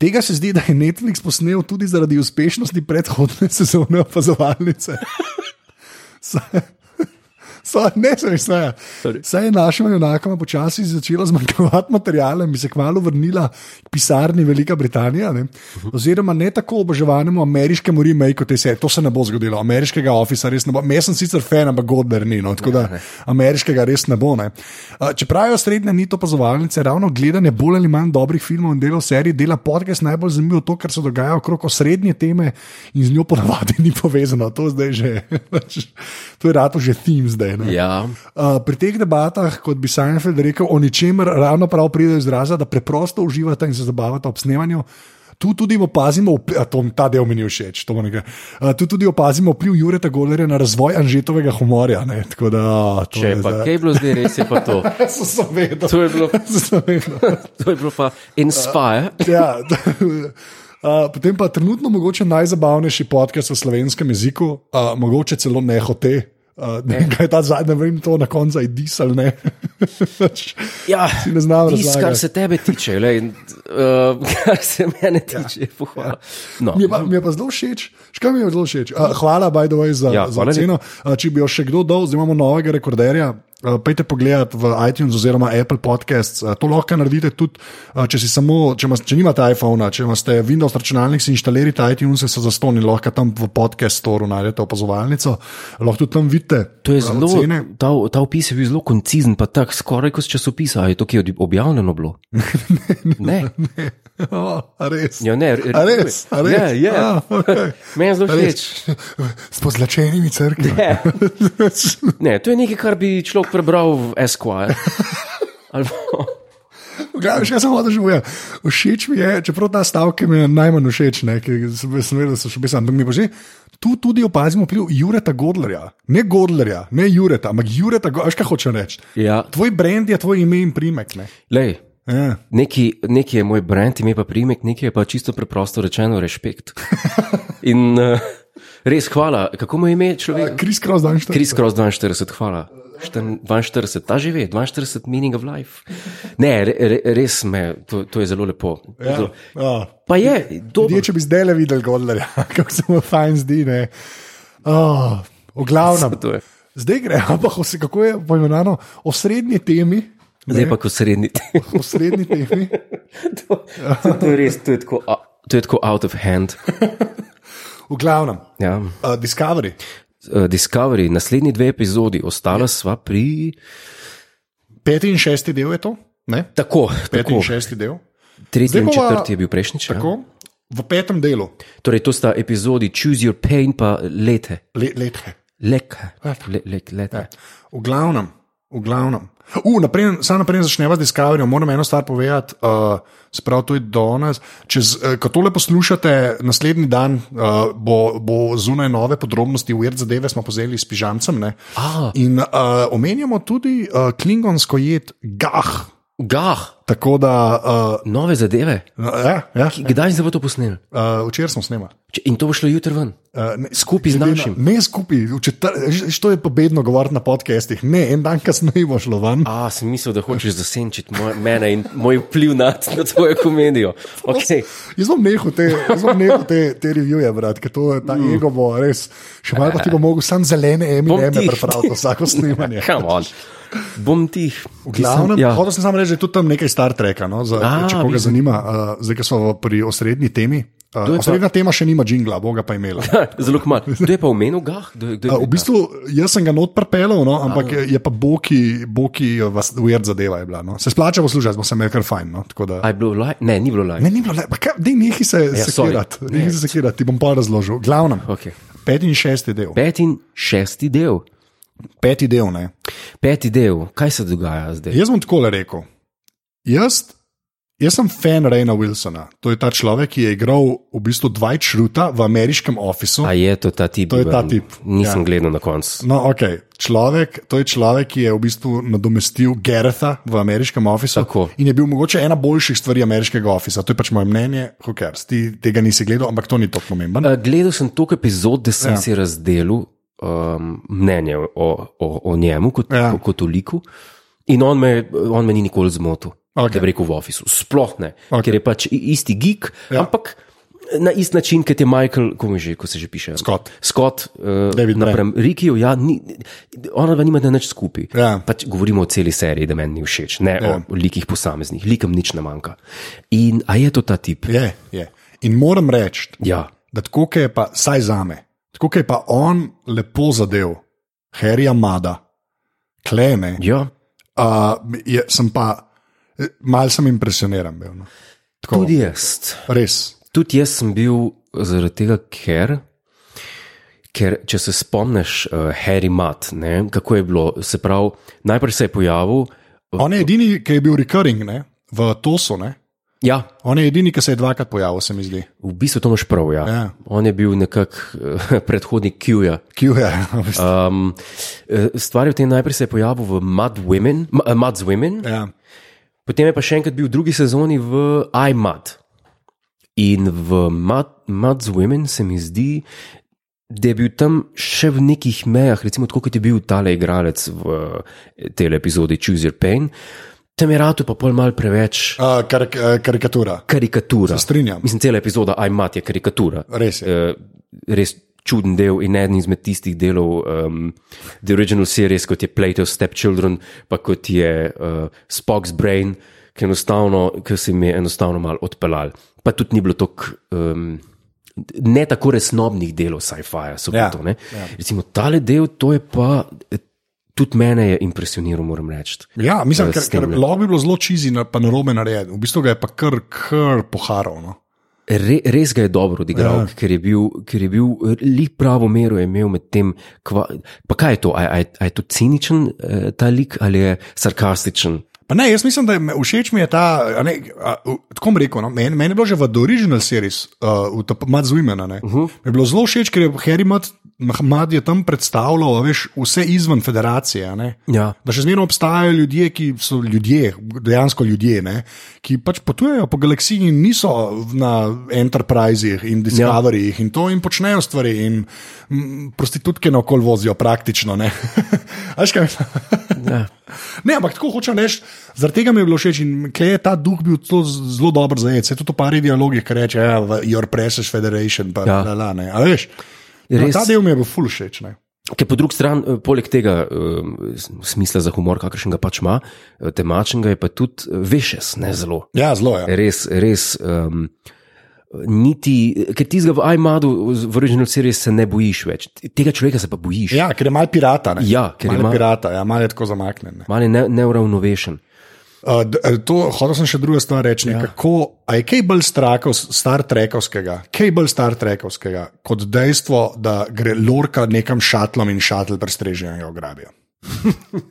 [SPEAKER 2] Tega se zdi, da je Netflix posnel tudi zaradi uspešnosti predhodne sezone opazovalnice. Saj- Saj- Ne, se mi smeje.
[SPEAKER 1] Sorry.
[SPEAKER 2] Saj je našima junakoma počasi začelo zmanjkovati materijala in bi se kmalo vrnila k pisarni Velika Britanija, ne? oziroma ne tako oboževanemu ameriškemu remakeu te serije. To se ne bo zgodilo, ameriškega ofisa res ne bo. Jaz sem sicer fan, ampak Godler ni, no, tako da ameriškega res ne bo. Ne? A, Čeprav je osrednja nit opazovalnice, ravno gledanje bolj ali manj dobrih filmov in delov serij dela podcast najbolj zanimivo to, kar se dogaja okrog osrednje teme in z njo ponavadi ni povezano. To, zdaj že, pač, to je rato že theme zdaj. Ne?
[SPEAKER 1] Ja.
[SPEAKER 2] Uh, pri teh debatah, kot bi Seinfeld rekel, o ničemer ravno prav pride do izraza, da preprosto uživate in se zabavate ob snemanju. Tu tudi opazimo, vpl- a to, ta del mi ni všeč, to mu ne gre. A, Tu tudi opazimo vpliv Jureta Golerja na razvoj anžetovega humorja. Ne? Tako da, a, to
[SPEAKER 1] Če je pa kaj bilo zdaj, res je pa to.
[SPEAKER 2] Sem se vedel.
[SPEAKER 1] To je bilo,
[SPEAKER 2] Sem se vedel.
[SPEAKER 1] to je bilo pa Inspire.
[SPEAKER 2] Ja, Uh, potem pa trenutno mogoče najzabavnejši podcast v slovenskem jeziku, uh, mogoče celo nehote. Uh, ne, kaj je ta zadnji, ne vem, to na koncu je dis ali ne. Pač,
[SPEAKER 1] Ja,
[SPEAKER 2] Si ne znam
[SPEAKER 1] tis, kar
[SPEAKER 2] razlagati.
[SPEAKER 1] se tebe tiče, lej, uh, kar se mene tiče, je pohvala. No.
[SPEAKER 2] Mi je, pa, mi je pa zelo všeč, škoda mi je zelo všeč. Uh, hvala, by the way, za,
[SPEAKER 1] Ja,
[SPEAKER 2] ja, za
[SPEAKER 1] hvala lepa.
[SPEAKER 2] ceno. Uh, če bi jo še kdo dal, zdaj imamo novega rekorderja. Uh, Pejte pogledat v iTunes oziroma Apple Podcasts. Uh, To lahko naredite tudi, uh, če, si samo, če, mas, če nimate iPhona, če imate Windows računalnik, si inštalirate iTunes, se zastonj lahko tam v podcast storu najdete opazovalnico. Lahko tudi tam vidite.
[SPEAKER 1] To je
[SPEAKER 2] uh,
[SPEAKER 1] zelo,
[SPEAKER 2] Cene.
[SPEAKER 1] ta, ta opis je bil zelo koncizen, pa tako skoraj kot iz časopisa. A Je to, ki je od- objavljeno bilo? Ne,
[SPEAKER 2] Oh, res.
[SPEAKER 1] ja, ne, re-
[SPEAKER 2] A res, a res.
[SPEAKER 1] Ja, ja.
[SPEAKER 2] Ah, okej.
[SPEAKER 1] Meni je zelo
[SPEAKER 2] A res?
[SPEAKER 1] všeč.
[SPEAKER 2] S pozlačenimi crkvami.
[SPEAKER 1] Ne. ne, to je nekaj, kar bi človek prebral v Esquire. Ali pa-
[SPEAKER 2] Glavno, še samo da živim. Všeč mi je, čeprav ta stavek mi je najmanj všeč, ne, ki sem sem vedel, da so še besede, ampak mi pa že. Tu tudi opazimo vpliv Jureta Godlerja. Ne Godlerja, ne Jureta, ampak Jureta, Go- veš kaj hoče reči.
[SPEAKER 1] Ja,
[SPEAKER 2] Tvoj brand je tvoj ime in primek. Ne?
[SPEAKER 1] lej.
[SPEAKER 2] Ja.
[SPEAKER 1] Neki, neki je moj brand, ime pa primek, neki je pa čisto preprosto rečeno respekt. In uh, res hvala, kako mu je ime človek?
[SPEAKER 2] Kris Kraus dan štiri.
[SPEAKER 1] Kris Cross 42, hvala. Šten- 42, ta že ve, 42 meaning of life. Ne, re, re, res me, to, to je zelo lepo.
[SPEAKER 2] Ja.
[SPEAKER 1] Zelo-
[SPEAKER 2] Oh.
[SPEAKER 1] Pa je, dobro.
[SPEAKER 2] Ljudje, če bi zdaj le videl Godlerja, kako se mu fajn zdi. Ne. Oh, o glavnem.
[SPEAKER 1] To je.
[SPEAKER 2] Zdaj gre, ampak vse- kako je poimenovano, o srednji temi.
[SPEAKER 1] Zdaj pa ko srednji.
[SPEAKER 2] O srednji temi.
[SPEAKER 1] to, to, to je res, to je tako, a- to je tako out of hand.
[SPEAKER 2] V glavnem.
[SPEAKER 1] Ja.
[SPEAKER 2] Uh, Discovery.
[SPEAKER 1] Eh, Discovery, naslednji dve epizodi, ostala sva pri.
[SPEAKER 2] Peti in šesti del je to, ne?
[SPEAKER 1] Tako,
[SPEAKER 2] Peti
[SPEAKER 1] tako.
[SPEAKER 2] in šesti del.
[SPEAKER 1] Tretji
[SPEAKER 2] Zdaj
[SPEAKER 1] in
[SPEAKER 2] bova-
[SPEAKER 1] četrti je bil prejšnjič. ja.
[SPEAKER 2] Tako, v petem delu,
[SPEAKER 1] Torej, to sta epizodi Choose Your Pain pa Lete.
[SPEAKER 2] le, letke.
[SPEAKER 1] Leka. Le, le, lete. Ja.
[SPEAKER 2] V glavnem, v glavnem. Uh, naprej, sam naprej začneva z Discoveryjem, moram eno stvar povedati, uh, sprav to je do nas. Čez, uh, ko tole poslušate, naslednji dan uh, bo, bo zunaj nove podrobnosti, ujed zadeve smo povzeli s pižamcem. ne.
[SPEAKER 1] Ah.
[SPEAKER 2] In uh, omenjamo tudi uh, klingonsko jed gah.
[SPEAKER 1] Gah,
[SPEAKER 2] Tako da,
[SPEAKER 1] nove zadeve.
[SPEAKER 2] uh, ja, ja,
[SPEAKER 1] Kdaj se bo to posnel?
[SPEAKER 2] uh, včeraj smo snemali.
[SPEAKER 1] Če- In to bo šlo jutri ven.
[SPEAKER 2] Uh, ne,
[SPEAKER 1] Skupaj z
[SPEAKER 2] glede na-
[SPEAKER 1] našim.
[SPEAKER 2] Ne skupaj, v četr- že- že to je pobedno govoriti na podcestih. Ne, en dan kasneje bo šlo ven.
[SPEAKER 1] A, sem mislil, da hočeš zasenčiti moj, mene in moj vpliv na, na tvojo komedijo. Okay.
[SPEAKER 2] Jaz bom nehal te, jaz bom nehal te, te revije, brat, ker to je ta mm. ego bo res. Še malo pa ti bo mogel sam zelene
[SPEAKER 1] Bom tih.
[SPEAKER 2] emine pripraviti na vsako snemanje.
[SPEAKER 1] Come on. Bom tih.
[SPEAKER 2] V glavnem, ja.
[SPEAKER 1] ja.
[SPEAKER 2] hotel sem samo reči, da je tudi tam nekaj Star Treka, no, za,
[SPEAKER 1] A,
[SPEAKER 2] A, če
[SPEAKER 1] vidim.
[SPEAKER 2] koga vidim. zanima, uh, zdaj, ki smo pri osrednji temi.
[SPEAKER 1] To je
[SPEAKER 2] Uh,
[SPEAKER 1] pa-
[SPEAKER 2] osrednja tema še nima džingla, boga pa imela.
[SPEAKER 1] Zelo malo. Kdo je pa omenil gah? Kdo, je- kdo, je-
[SPEAKER 2] Uh, v bistvu jaz sem ga not prepeljal, no, ampak je, je pa boki, boki vas ujerd zadeva je bila. No. Se splača poslušati, smo se imeli kar fajn. No, tako da,
[SPEAKER 1] A je bilo live? Ne, ni bilo live.
[SPEAKER 2] ne, ni bilo lepo, da nehi se ja,
[SPEAKER 1] sorry.
[SPEAKER 2] sekirati, nehi se sekirati, ti bom pa razložil. Glavno,
[SPEAKER 1] Okej.
[SPEAKER 2] peti in šesti del.
[SPEAKER 1] Peti in šesti del.
[SPEAKER 2] Peti del, ne.
[SPEAKER 1] Peti del, kaj se dogaja zdaj?
[SPEAKER 2] Jaz bom takole rekel. Jaz, jaz sem fan Reina Wilsona, to je ta človek, ki je igral v bistvu Dwight Schruta v ameriškem ofisu.
[SPEAKER 1] A je to ta tip?
[SPEAKER 2] To je ta
[SPEAKER 1] Ben?
[SPEAKER 2] tip,
[SPEAKER 1] Nisem ja. gledal na koncu.
[SPEAKER 2] No, ok, človek, to je človek, ki je v bistvu nadomestil Geretha v ameriškem ofisu.
[SPEAKER 1] Tako.
[SPEAKER 2] In je bil mogoče ena boljših stvari ameriškega ofisa. To je pač moje mnenje, hokers. Ti tega nisi gledal, ampak to ni tako pomembno.
[SPEAKER 1] Uh, Gledal sem toliko epizod, da sem ja.
[SPEAKER 2] Ja.
[SPEAKER 1] si razdelil um, mnenje o, o, o njemu kot, ja.
[SPEAKER 2] Ja.
[SPEAKER 1] kot o liku. In on me, on me ni nikoli zmotil, okay.
[SPEAKER 2] Okej.
[SPEAKER 1] da bi rekel v ofisu. Sploh ne, okay.
[SPEAKER 2] Okej.
[SPEAKER 1] ker je pač i- isti geek, ja.
[SPEAKER 2] Ja.
[SPEAKER 1] ampak na isti način, kot je Michael, ko, že, ko se že piše.
[SPEAKER 2] Scott.
[SPEAKER 1] Scott, uh,
[SPEAKER 2] David
[SPEAKER 1] naprem Rikiju, ja, ni, ona dva nimata nič skupaj.
[SPEAKER 2] Ja.
[SPEAKER 1] Pač govorimo o celi seriji, da meni ni všeč, ne ja.
[SPEAKER 2] Ja.
[SPEAKER 1] o likih posameznih, likem nič ne manjka. In a je to ta tip?
[SPEAKER 2] Je, je. In moram reči,
[SPEAKER 1] Ja,
[SPEAKER 2] da tako kot je pa, saj za me, tako kot je pa on lepo zadev, Harryja Mada, klene,
[SPEAKER 1] ja.
[SPEAKER 2] uh, je, sem pa, mal sem impresioniran bil. No. Tako,
[SPEAKER 1] tudi jaz.
[SPEAKER 2] res.
[SPEAKER 1] Tudi jaz sem bil zaradi tega, ker, ker če se spomniš, uh, Harry Mat, ne, kako je bilo. Se pravi, najprej se je pojavil,
[SPEAKER 2] On je edini, ki je bil recurring ne, v Tosu. Ne.
[SPEAKER 1] Ja,
[SPEAKER 2] On je edini, ki se je dvakrat pojavil, se mi zdi.
[SPEAKER 1] v bistvu to imaš prav. Ja.
[SPEAKER 2] Ja.
[SPEAKER 1] On je bil nekako eh, predhodnik Q-ja.
[SPEAKER 2] Q je. v bistvu.
[SPEAKER 1] Um, eh, stvar je v tem, najprej se je pojavil v Mad Women, Ma- eh, Mud's Women,
[SPEAKER 2] Ja.
[SPEAKER 1] potem je pa še enkrat bil v drugi sezoni v iMud. In v Mud, Mud's Women se mi zdi, da je bil tam še v nekih mejah, recimo tako kot je bil tale igralec v eh, tej epizodi Choose Your Pain, tam je rado pa pol mal preveč
[SPEAKER 2] Uh, karik uh, karikatura.
[SPEAKER 1] karikatura.
[SPEAKER 2] Strinjam.
[SPEAKER 1] Mislim, cela epizoda iMud je karikatura
[SPEAKER 2] Res je.
[SPEAKER 1] eh, res čuden del in eden izmed tistih delov um, The Original Series, kot je Plato's Stepchildren, pa kot je uh, Spock's Brain, ki, enostavno- ki se mi je enostavno mal odpeljal. Pa tudi ni bilo tako. Um, Ne tako resnobnih delov sci-fi, so ja,
[SPEAKER 2] Ja,
[SPEAKER 1] to. Ja. Recimo, tale del, to je pa, eh, tudi mene je impresioniral, moram reči.
[SPEAKER 2] Ja,
[SPEAKER 1] Eh,
[SPEAKER 2] mislim, ker,
[SPEAKER 1] s tem,
[SPEAKER 2] ker
[SPEAKER 1] ne.
[SPEAKER 2] lahko bi bilo zelo čizi, na- pa narobe narejen. V bistvu ga je pa kar, kar poharal. No.
[SPEAKER 1] Re, res ga je dobro odigral, ja.
[SPEAKER 2] Ja.
[SPEAKER 1] ker je bil, ker je bil lik pravo mero je imel med tem. Kva, pa kaj je to? A, a, a je to ciničen eh, ta lik ali je sarkastičen?
[SPEAKER 2] Pa ne, jaz mislim, da je me- všeč mi je ta, a ne, a, v- tako bom rekel, no, meni, meni je bilo že v The Original series, uh, v Mad Zwimena, uh -huh. mi je bilo zelo všeč, ker je Harry Mad, Mad je tam predstavljal a veš, vse izven federacije. a ne.
[SPEAKER 1] Ja.
[SPEAKER 2] Da še zmerno obstajajo ljudje, ki so ljudje, dejansko ljudje, ne, ki pač potujejo po galaksiji in niso na Enterprisih in Discoveryjih in to jim počnejo stvari. In, m, prostitutke na okol vozijo praktično. ne. A veš, kaj mislim?
[SPEAKER 1] Ja.
[SPEAKER 2] Ne, ampak tako hočem reči, zaradi tega mi je bilo všeč in klej je ta duh bil to z- zelo dobro zajet. Se tudi pa redi dialogih, ki reče, ja, v- your press is federation, pa
[SPEAKER 1] Ja.
[SPEAKER 2] ja. la, la, ne. A veš,
[SPEAKER 1] Res.
[SPEAKER 2] Res. No, ta del mi je bil ful všeč. Ne.
[SPEAKER 1] Ker po drugi strani, eh, poleg tega eh, s- smisla za humor, kakršen ga pač ima, eh, temačnega je pa tudi eh, vešes, ne zelo.
[SPEAKER 2] Ja, zelo je. Ja.
[SPEAKER 1] Res, res. Um, niti, ker ti zga v iMadu, v original seriji se ne bojiš več. Tega človeka se pa bojiš.
[SPEAKER 2] ja, ker je mal pirata. Ne.
[SPEAKER 1] Ja, ker je
[SPEAKER 2] mal
[SPEAKER 1] malo-
[SPEAKER 2] pirata, ja, mal je tako zamaknjen. ne.
[SPEAKER 1] Mal je ne, neuravnovešen.
[SPEAKER 2] Uh, d- eh, to, hotel sem še druga stvar reči. Ja. Kako, a je kaj bolj strakov, star trekovskega, kaj bolj star trekovskega, kot dejstvo, da gre lorka nekam šatlom in šatl prestrežejo in jo grabijo.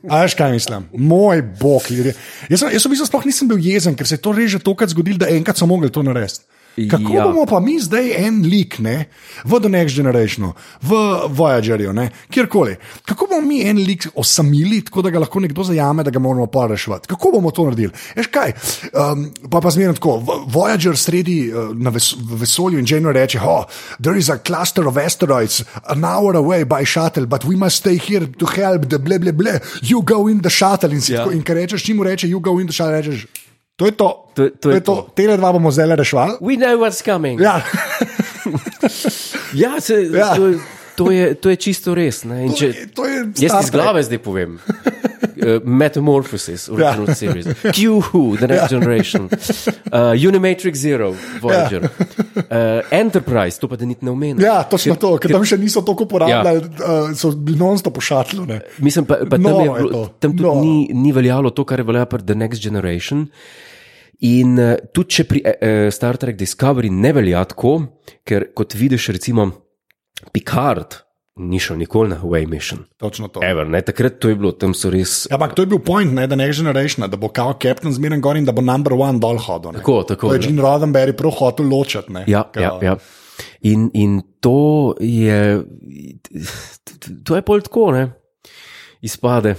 [SPEAKER 2] A veš, kaj mislim? Moj bog, ljudje. Jaz, sem- jaz v bistvu sploh nisem bil jezen, ker se je to reže tokrat zgodilo, da enkrat so mogli to narediti. Kako
[SPEAKER 1] Ja.
[SPEAKER 2] ja. bomo pa mi zdaj en lik, ne, v The Next Generationu, v Voyagerju, ne, kjerkoli. Kako bomo mi en lik osamili, tako da ga lahko nekdo zajame, da ga moramo pa reševati? Kako bomo to naredili? Veš kaj, um, pa pa zmerno tako, v- Voyager sredi uh, na ves v vesolju in Jenner reče, oh, there is a cluster of asteroids an hour away by shuttle, but we must stay here to help the ble ble ble, you go in the shuttle in si
[SPEAKER 1] Ja.
[SPEAKER 2] ja. tako, in ker rečeš, čim mu reče, you go in the shuttle, rečeš, to je to.
[SPEAKER 1] To je- to je to.
[SPEAKER 2] Tele dva bomo zdaj reševali.
[SPEAKER 1] We know what's coming.
[SPEAKER 2] Ja.
[SPEAKER 1] Ja, se, ja.
[SPEAKER 2] Ja.
[SPEAKER 1] To, je- to, je, to je čisto res. ne. In Če,
[SPEAKER 2] To je
[SPEAKER 1] jaz
[SPEAKER 2] Star
[SPEAKER 1] iz
[SPEAKER 2] Trek.
[SPEAKER 1] glave zdaj povem. Uh, Metamorphosis, original ja.
[SPEAKER 2] Ja.
[SPEAKER 1] series, Q-Who, The Next ja. Generation, uh, Unimatrix Zero, Voyager, ja. uh, Enterprise, to pa da niti ne omenjam.
[SPEAKER 2] Ja, točno to, ker tam še niso tako uporabljali, ja. uh, so bili non-stop pošatljeni.
[SPEAKER 1] Mislim, pa, pa tam,
[SPEAKER 2] Noro
[SPEAKER 1] je,
[SPEAKER 2] je
[SPEAKER 1] bilo-
[SPEAKER 2] to,
[SPEAKER 1] tam tudi
[SPEAKER 2] noro.
[SPEAKER 1] ni, ni veljalo to, kar je veljalo pri The Next Generation. In eh, tudi če pri eh, Star Trek Discovery ne velja tako, ker kot vidiš, recimo Picard ni šel nikoli na Huawei Mission.
[SPEAKER 2] Točno to.
[SPEAKER 1] Ever, ne? Takrat to je bilo, tam so res.
[SPEAKER 2] Ja, ampak to je bil point, ne, da ne že rečeš, da bo kao kapten zmeren gor in da bo number one dol hodil. ne.
[SPEAKER 1] Tako, tako,
[SPEAKER 2] To je
[SPEAKER 1] ja.
[SPEAKER 2] Gene Roddenberry prav hotel ločiti. ne.
[SPEAKER 1] Ja,
[SPEAKER 2] Kao,
[SPEAKER 1] ja, ja. In, in to je, to je pol tako, ne? izpade.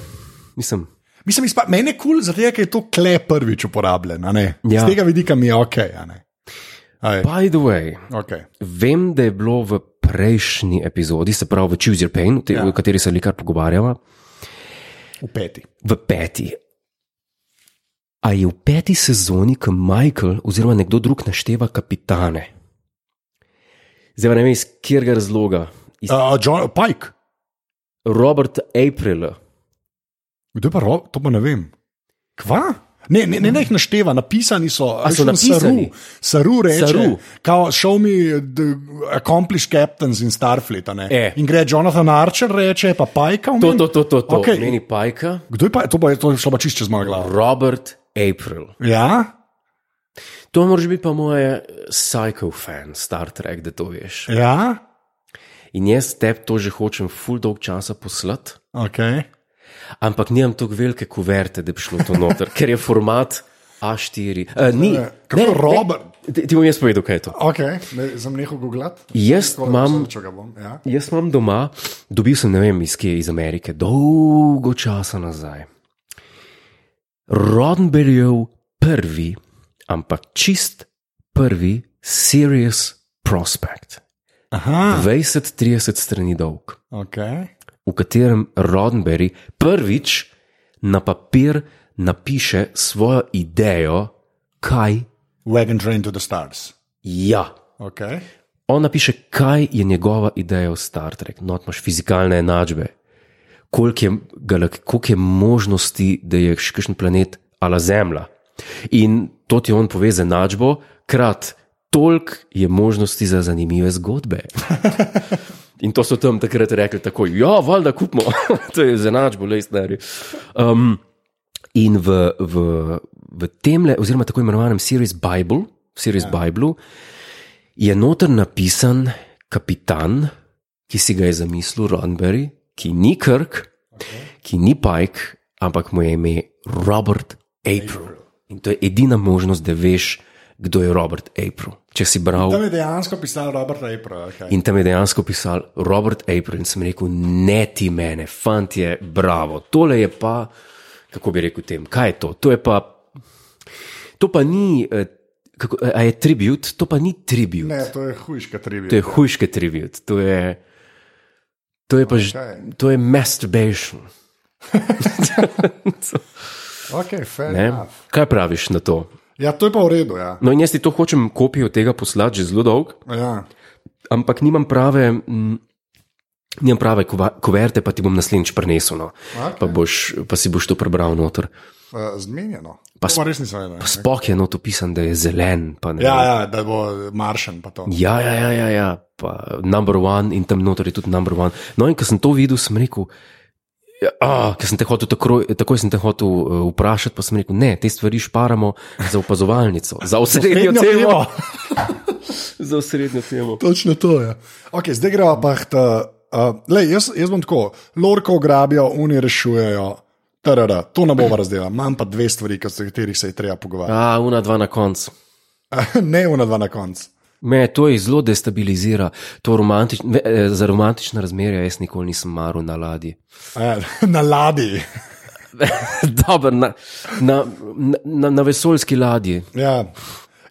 [SPEAKER 1] Mislim,
[SPEAKER 2] Mislim, izpa, meni je kul, cool, zato je, ker je to kle prvič uporabljen. a ne.
[SPEAKER 1] Ja.
[SPEAKER 2] Z tega vidika mi je ok. a ne. Aj,
[SPEAKER 1] by the way.
[SPEAKER 2] okay.
[SPEAKER 1] Vem, da je bilo v prejšnji epizodi, se pravi v Choose Your Pain, v, te, ja.
[SPEAKER 2] Ja.
[SPEAKER 1] v kateri se likar pogovarjava,
[SPEAKER 2] V peti.
[SPEAKER 1] v peti. A je v peti sezoni, ko Michael oziroma nekdo drug našteva kapitane? Zdaj pa ne vem iz katerega razloga. Iz
[SPEAKER 2] Uh, John Pike.
[SPEAKER 1] Roberta Aprila.
[SPEAKER 2] Kdo je pa rob, to pa ne vem. Kva? Ne, ne, ne, ne jih našteva, napisani so.
[SPEAKER 1] A so napisani?
[SPEAKER 2] Saru, Saru reče:
[SPEAKER 1] Saru.
[SPEAKER 2] Saru. Kao, Show me the accomplished captains in Starfleet. a ne."
[SPEAKER 1] E.
[SPEAKER 2] In gre Jonathan Archer, reče pa Pajka.
[SPEAKER 1] To, to, to, to, to. Okay.
[SPEAKER 2] Okej.
[SPEAKER 1] meni pajka.
[SPEAKER 2] Kdo je pa, to, pa je, to je šlo pa čisto čez mojo glavo.
[SPEAKER 1] Robert April.
[SPEAKER 2] Ja,
[SPEAKER 1] To moraš biti pa moje psihofan, Star Trek, da to veš.
[SPEAKER 2] ja,
[SPEAKER 1] In jaz tebi to že hočem full dolg časa poslati.
[SPEAKER 2] ok.
[SPEAKER 1] ampak nimam tako velike kuverte, da bi šlo to noter, ker je format A4. Uh, ni,
[SPEAKER 2] Ne, kako Robert?
[SPEAKER 1] Ne, ti, ti bom jaz povedal, kaj je to.
[SPEAKER 2] Okay, ne, sem nehal googlati.
[SPEAKER 1] Jaz
[SPEAKER 2] Tako da
[SPEAKER 1] imam-
[SPEAKER 2] poslušal, če ga bom, Ja.
[SPEAKER 1] Jaz imam doma, dobil sem ne vem iz kje, iz Amerike, dolgo časa nazaj. Rodenberjev prvi, ampak čist prvi, serious prospect,
[SPEAKER 2] Aha,
[SPEAKER 1] 20-30 strani dolg,
[SPEAKER 2] okay.
[SPEAKER 1] v katerem Rodenberry prvič na papir napiše svojo idejo, kaj
[SPEAKER 2] Wagon Train to the Stars.
[SPEAKER 1] ja.
[SPEAKER 2] Okay.
[SPEAKER 1] On napiše, kaj je njegova ideja v Star Trek. No, imaš fizikalne enačbe, koliko je, galak- koliko je možnosti, da je še kakšen planet ala Zemlja. In to ti on pove z enačbo, krat toliko je možnosti za zanimive zgodbe. In to so tam takrat rekli tako, ja, valjda kupimo, to je z enačbo, le stari. Um, in v, v, v temle, oziroma tako imenovanem Series Bible, Series ja. Bible je noter napisan kapitan, ki si ga je zamislil Roddenberry, ki ni Kirk, okay. ki ni Pike, ampak mu je ime Robert April. In to je edina možnost, da veš, kdo je Robert April. Če si bral
[SPEAKER 2] Tam je dejansko pisal Robert April. Okay.
[SPEAKER 1] In tam je dejansko pisal Robert April in sem rekel, ne ti mene, fant je, bravo. Tole je pa, kako bi rekel tem, kaj je to? To, je pa, to pa ni, eh, kako, eh, a je tribut, to pa ni tribut,
[SPEAKER 2] Ne,
[SPEAKER 1] ne.
[SPEAKER 2] to je hujška trivija.
[SPEAKER 1] to je hujške tribut, to je, to je pa že,
[SPEAKER 2] Okej.
[SPEAKER 1] to je masturbation.
[SPEAKER 2] Okay, fair
[SPEAKER 1] Ne?
[SPEAKER 2] enough.
[SPEAKER 1] Kaj praviš na to?
[SPEAKER 2] ja, to je pa v redu. Ja.
[SPEAKER 1] No, in jaz ti to hočem kopijo tega poslati že zelo dolgo.
[SPEAKER 2] Ja.
[SPEAKER 1] ampak nimam prave. mm, Nimam prave kuva- kuverte, pa ti bom naslednjič prenesel. No.
[SPEAKER 2] Okej.
[SPEAKER 1] Pa, boš, pa si boš to prebral noter.
[SPEAKER 2] eh, Zmenjeno.
[SPEAKER 1] Pa
[SPEAKER 2] Pa,
[SPEAKER 1] sp-
[SPEAKER 2] pa res nisem vedel. ne.
[SPEAKER 1] Spok je not opisan, da je zelen. pa ne
[SPEAKER 2] Ja,
[SPEAKER 1] vem.
[SPEAKER 2] ja, da bo maršen. pa to.
[SPEAKER 1] ja, ja, ja, ja, ja. Pa number one in tam noter je tudi number one. No, in ko sem to videl, sem rekel, ja, ah, ker sem te hotel takoj, takoj sem te hotel uh, vprašati, pa sem rekel, ne, te stvari šparamo za opazovalnico, za osrednjo
[SPEAKER 2] Srednjo
[SPEAKER 1] temo.
[SPEAKER 2] pivo.
[SPEAKER 1] za osrednjo temo.
[SPEAKER 2] Točno to je. Ja. Okay, zdaj gremo pa. k ta, Uh, lej, jaz, jaz bom tako, lorko grabijo, oni rešujejo. Tarara, to ne bomo razdelili, imam pa dve stvari, o katerih se je treba pogovarjati.
[SPEAKER 1] A, una dva na koncu. Ja.
[SPEAKER 2] ne, ona dva na koncu.
[SPEAKER 1] Me to je zelo destabilizira, to romantič, ve- eh, za romantična razmerja jaz nikoli nisem maral na ladji.
[SPEAKER 2] Eh, Na ladji.
[SPEAKER 1] Dober, na, na, na, na vesoljski ladji.
[SPEAKER 2] Ja.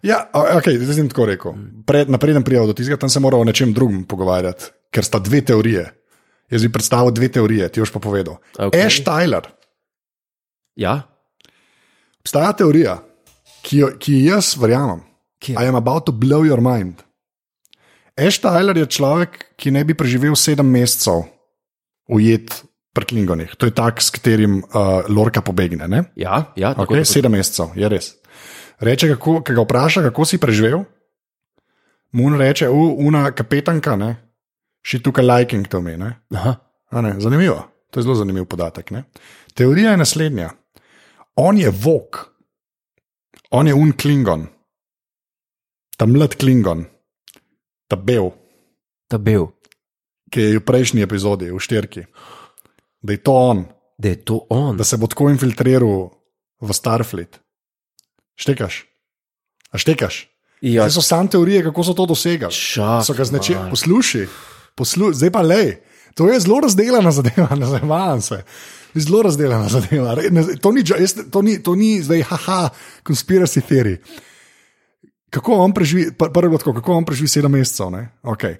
[SPEAKER 2] Ja, o- okay, zdaj sem tako rekel. Pred, napreden prijav do tistega, tam se moramo o nečem drugem pogovarjati, ker sta dve teorije. Jaz bi predstavil dve teorije, ti boš pa povedal.
[SPEAKER 1] Okej.
[SPEAKER 2] Okay. Ash Tyler,
[SPEAKER 1] Ja,
[SPEAKER 2] obstaja teorija, ki jo, ki ji jaz verjamem.
[SPEAKER 1] Kje?
[SPEAKER 2] I am about to blow your mind. Ash Tyler je človek, ki ne bi preživel sedem mesecev ujet pri Klingonih. To je tak, s katerim uh, Lorka pobegne. Ne?
[SPEAKER 1] ja, ja tako
[SPEAKER 2] Okay,
[SPEAKER 1] okay,
[SPEAKER 2] sedem mesecev, je res. Reče, kako, ki ga vpraša, kako si preživel, mu on reče, "U, una kapetanka, ne, še tukaj liking to mi. Ne?
[SPEAKER 1] Aha,
[SPEAKER 2] A Ne, zanimivo, to je zelo zanimiv podatek. Ne? Teorija je naslednja. On je vok, on je un klingon, ta mlad klingon, ta bel,
[SPEAKER 1] ta bel,
[SPEAKER 2] ki je v prejšnji epizodi, v štirki. Da je to on,
[SPEAKER 1] da je to on.
[SPEAKER 2] da se bo tako infiltriral v Starfleet. Štekaš? A štekaš?
[SPEAKER 1] Ja,
[SPEAKER 2] Ja. So same teorije, kako so to dosegali.
[SPEAKER 1] čak,
[SPEAKER 2] So ga znače,
[SPEAKER 1] man.
[SPEAKER 2] poslušaj, poslu, zdaj pa le. To je zelo razdeljena zadeva, ne zavedam se. Zelo razdeljena zadeva. Re- ne- To ni, dž- jaz, to ni, to ni zdaj, haha, konspiracijski teorij. Kako on preživi, pr- prvo je bilo tako, kako on preživi sedem mesecev. Ne, okay.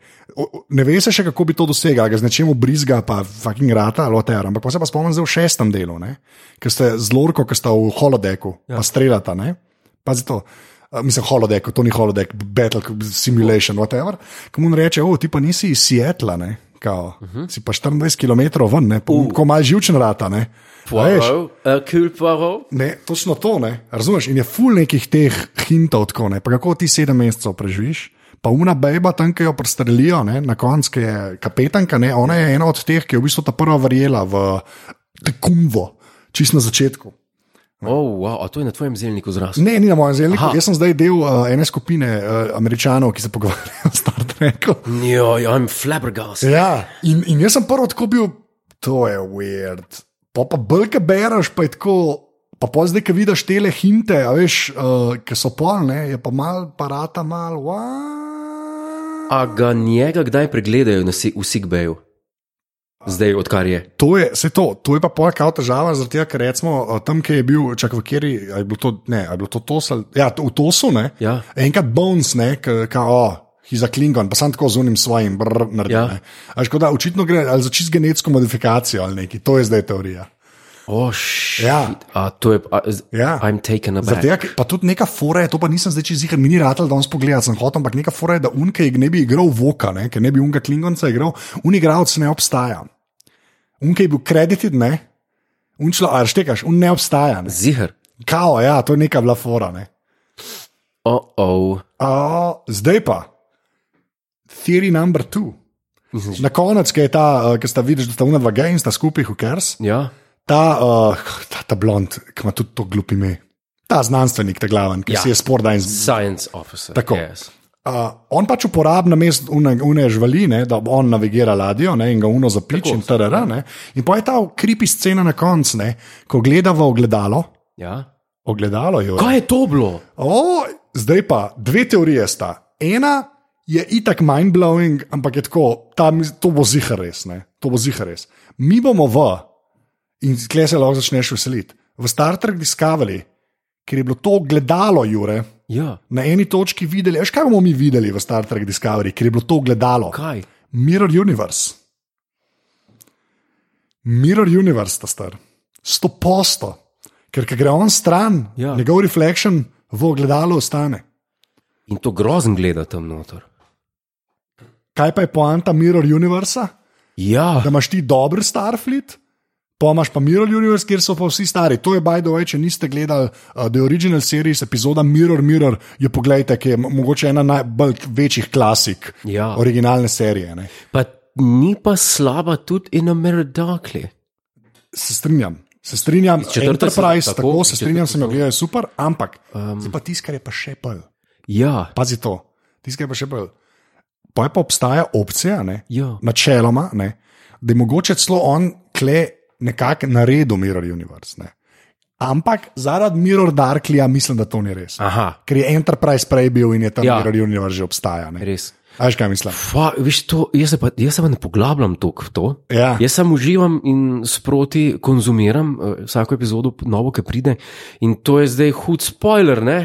[SPEAKER 2] ne ve se še, kako bi to dosegel, a ga z nečem obrizga, pa fucking rata, loter. Ampak pa se pa spomnim zdaj v šestem delu, ne? ker ste z Lorko, ki sta v holodeku, ja. pa streljata. ne. Pazi to. A, Mislim, holodek, to ni holodek, battle simulation, whatever. Komu reče, o, ti pa nisi iz Sietla, ne. Kao, uh -huh. Si pa 24 km ven, ne, pa, uh. ko imaš živčen rata, ne. A veš?
[SPEAKER 1] Poirot, eh, Hercule Poirot.
[SPEAKER 2] Ne, točno to ne. Razumeš? In je ful nekih teh hintov, tako ne. Pa kako ti sedem mesecev preživiš, pa una beba tam, ki jo prestrelijo, ne, na koncu ki je kapetanka, ne, ona je ena od teh, ki je v bistvu ta prva verjela v tekumvo, čist na začetku.
[SPEAKER 1] Oh, wow, a to je na tvojem zelniku zraslo.
[SPEAKER 2] Ne, ni na mojem zelniku.
[SPEAKER 1] Aha.
[SPEAKER 2] Jaz sem zdaj del uh, ene skupine uh, američanov, ki se pogovarjajo o Star Treku.
[SPEAKER 1] Jo, ja, I'm flabbergasted.
[SPEAKER 2] Ja, in, in jaz sem prvo tako bil, to je weird. Pa pa brka bereš, pa je tako, Pa pozdaj, ki vidiš tele hinte, a veš, uh, ki so polne, je pa mal, parata mal, wow.
[SPEAKER 1] A ga njega kdaj pregledajo na si, v Sigbeju? Zdaj, odkar je.
[SPEAKER 2] To je, se to, to je pa pol kao težava, zaradi tega, ker recimo eh, tam, kjer je bil, čak v kjeri, je bilo to, ne, a je bilo to tosal, ja, to, v tosu, ne.
[SPEAKER 1] Ja.
[SPEAKER 2] Enkrat Bones, ne, ki kao. Oh, Za klingon, pa sem tako z unim svojim, brr, naredi.
[SPEAKER 1] Ja.
[SPEAKER 2] Ja. Škoda, očitno gre ali za čist genetsko modifikacijo ali nekaj, to je zdaj teorija.
[SPEAKER 1] Oh, shit.
[SPEAKER 2] Ja.
[SPEAKER 1] A to je. A, z-
[SPEAKER 2] Ja.
[SPEAKER 1] I'm taken aback.
[SPEAKER 2] Tega, pa tudi neka fora je, to pa nisem zdaj čez zihar, mi ni ratal, da on spogleda, sem hotel, ampak neka fora je, da unke ne bi igral voka, ne, ker ne bi unka klingonca igral, un igralec ne obstaja. Unke je bil kredited, ne, un šlo, a štekaš, un ne obstaja. Ne.
[SPEAKER 1] Zihar.
[SPEAKER 2] Kao, ja, to je neka bila fora, ne.
[SPEAKER 1] Oh, oh.
[SPEAKER 2] A, zdaj pa, theory number two. Na konec, ki je ta, eh, ki sta vidiš, da sta unadva gej in sta skupaj, who cares?
[SPEAKER 1] Ja.
[SPEAKER 2] ta, uh, ta, ta blond, ki ima tudi to glupi ime, ta znanstvenik, ta glaven, ki
[SPEAKER 1] Ja.
[SPEAKER 2] ja. si je spor da in z.
[SPEAKER 1] Science officer.
[SPEAKER 2] Tako.
[SPEAKER 1] Yes.
[SPEAKER 2] Uh, on pač uporablja mest une žvaline, da on navigira ladjo ne, in ga uno zapiči in tera. In pa je ta kripi scena na koncu, ne, ko gleda v ogledalo.
[SPEAKER 1] Ja.
[SPEAKER 2] Ogledalo je.
[SPEAKER 1] Kaj je to bilo?
[SPEAKER 2] O, zdaj pa dve teorije sta. Ena je itak mind-blowing, ampak je tako, ta, mis- to bo zihar res, ne? to bo zihar res. Mi bomo v, in klej se lahko začneš veseliti, v Star Trek Discovery, ker je bilo to gledalo, Jure,
[SPEAKER 1] Ja.
[SPEAKER 2] na eni točki videli, veš kaj bomo mi videli v Star Trek Discovery, ker je bilo to gledalo.
[SPEAKER 1] Kaj?
[SPEAKER 2] Mirror Universe. Mirror Universe, ta star, sto posto, ker ko gre on stran,
[SPEAKER 1] Ja.
[SPEAKER 2] ja. njegov reflection v ogledalu ostane.
[SPEAKER 1] In to grozen gleda tam noter.
[SPEAKER 2] Kaj pa je poanta Mirror Universa?
[SPEAKER 1] Ja.
[SPEAKER 2] Da imaš ti dober Starfleet, pa imaš pa Mirror Universe, kjer so pa vsi stari. To je by the way, če niste gledali uh, The Original Series, epizoda Mirror Mirror, jo pogledajte, ki je mo- mogoče ena najbolj večjih klasik
[SPEAKER 1] Ja.
[SPEAKER 2] originalne serije. Ne?
[SPEAKER 1] Pa ni pa slaba tudi in Ameridakli.
[SPEAKER 2] Se strinjam. Se strinjam,
[SPEAKER 1] četrte
[SPEAKER 2] Enterprise,
[SPEAKER 1] se-
[SPEAKER 2] se,
[SPEAKER 1] tako,
[SPEAKER 2] tako, tako se
[SPEAKER 1] iz
[SPEAKER 2] strinjam,
[SPEAKER 1] četrte
[SPEAKER 2] sem jo
[SPEAKER 1] so-
[SPEAKER 2] gledal, je super, ampak um, pa tiskar je pa še pol.
[SPEAKER 1] Ja.
[SPEAKER 2] Pazi to, tiskar je pa še pol. Pa je pa obstaja opcija, ne,
[SPEAKER 1] Ja.
[SPEAKER 2] načeloma, ne, da je mogoče celo on kle nekako naredil Mirror Universe. Ne. Ampak zaradi Mirror Darklija mislim, da to ni res.
[SPEAKER 1] Aha.
[SPEAKER 2] Ker je Enterprise prej bil in je ta
[SPEAKER 1] Ja.
[SPEAKER 2] ja. Mirror Universe že obstaja. ne.
[SPEAKER 1] Res.
[SPEAKER 2] A Veš kaj mislim?
[SPEAKER 1] Fa, viš, to, jaz, se pa, jaz se pa ne poglabljam toliko v to.
[SPEAKER 2] Ja.
[SPEAKER 1] Jaz samo uživam in sproti konzumiram eh, vsako epizodo, novo, ki pride. In to je zdaj hud spoiler, ne?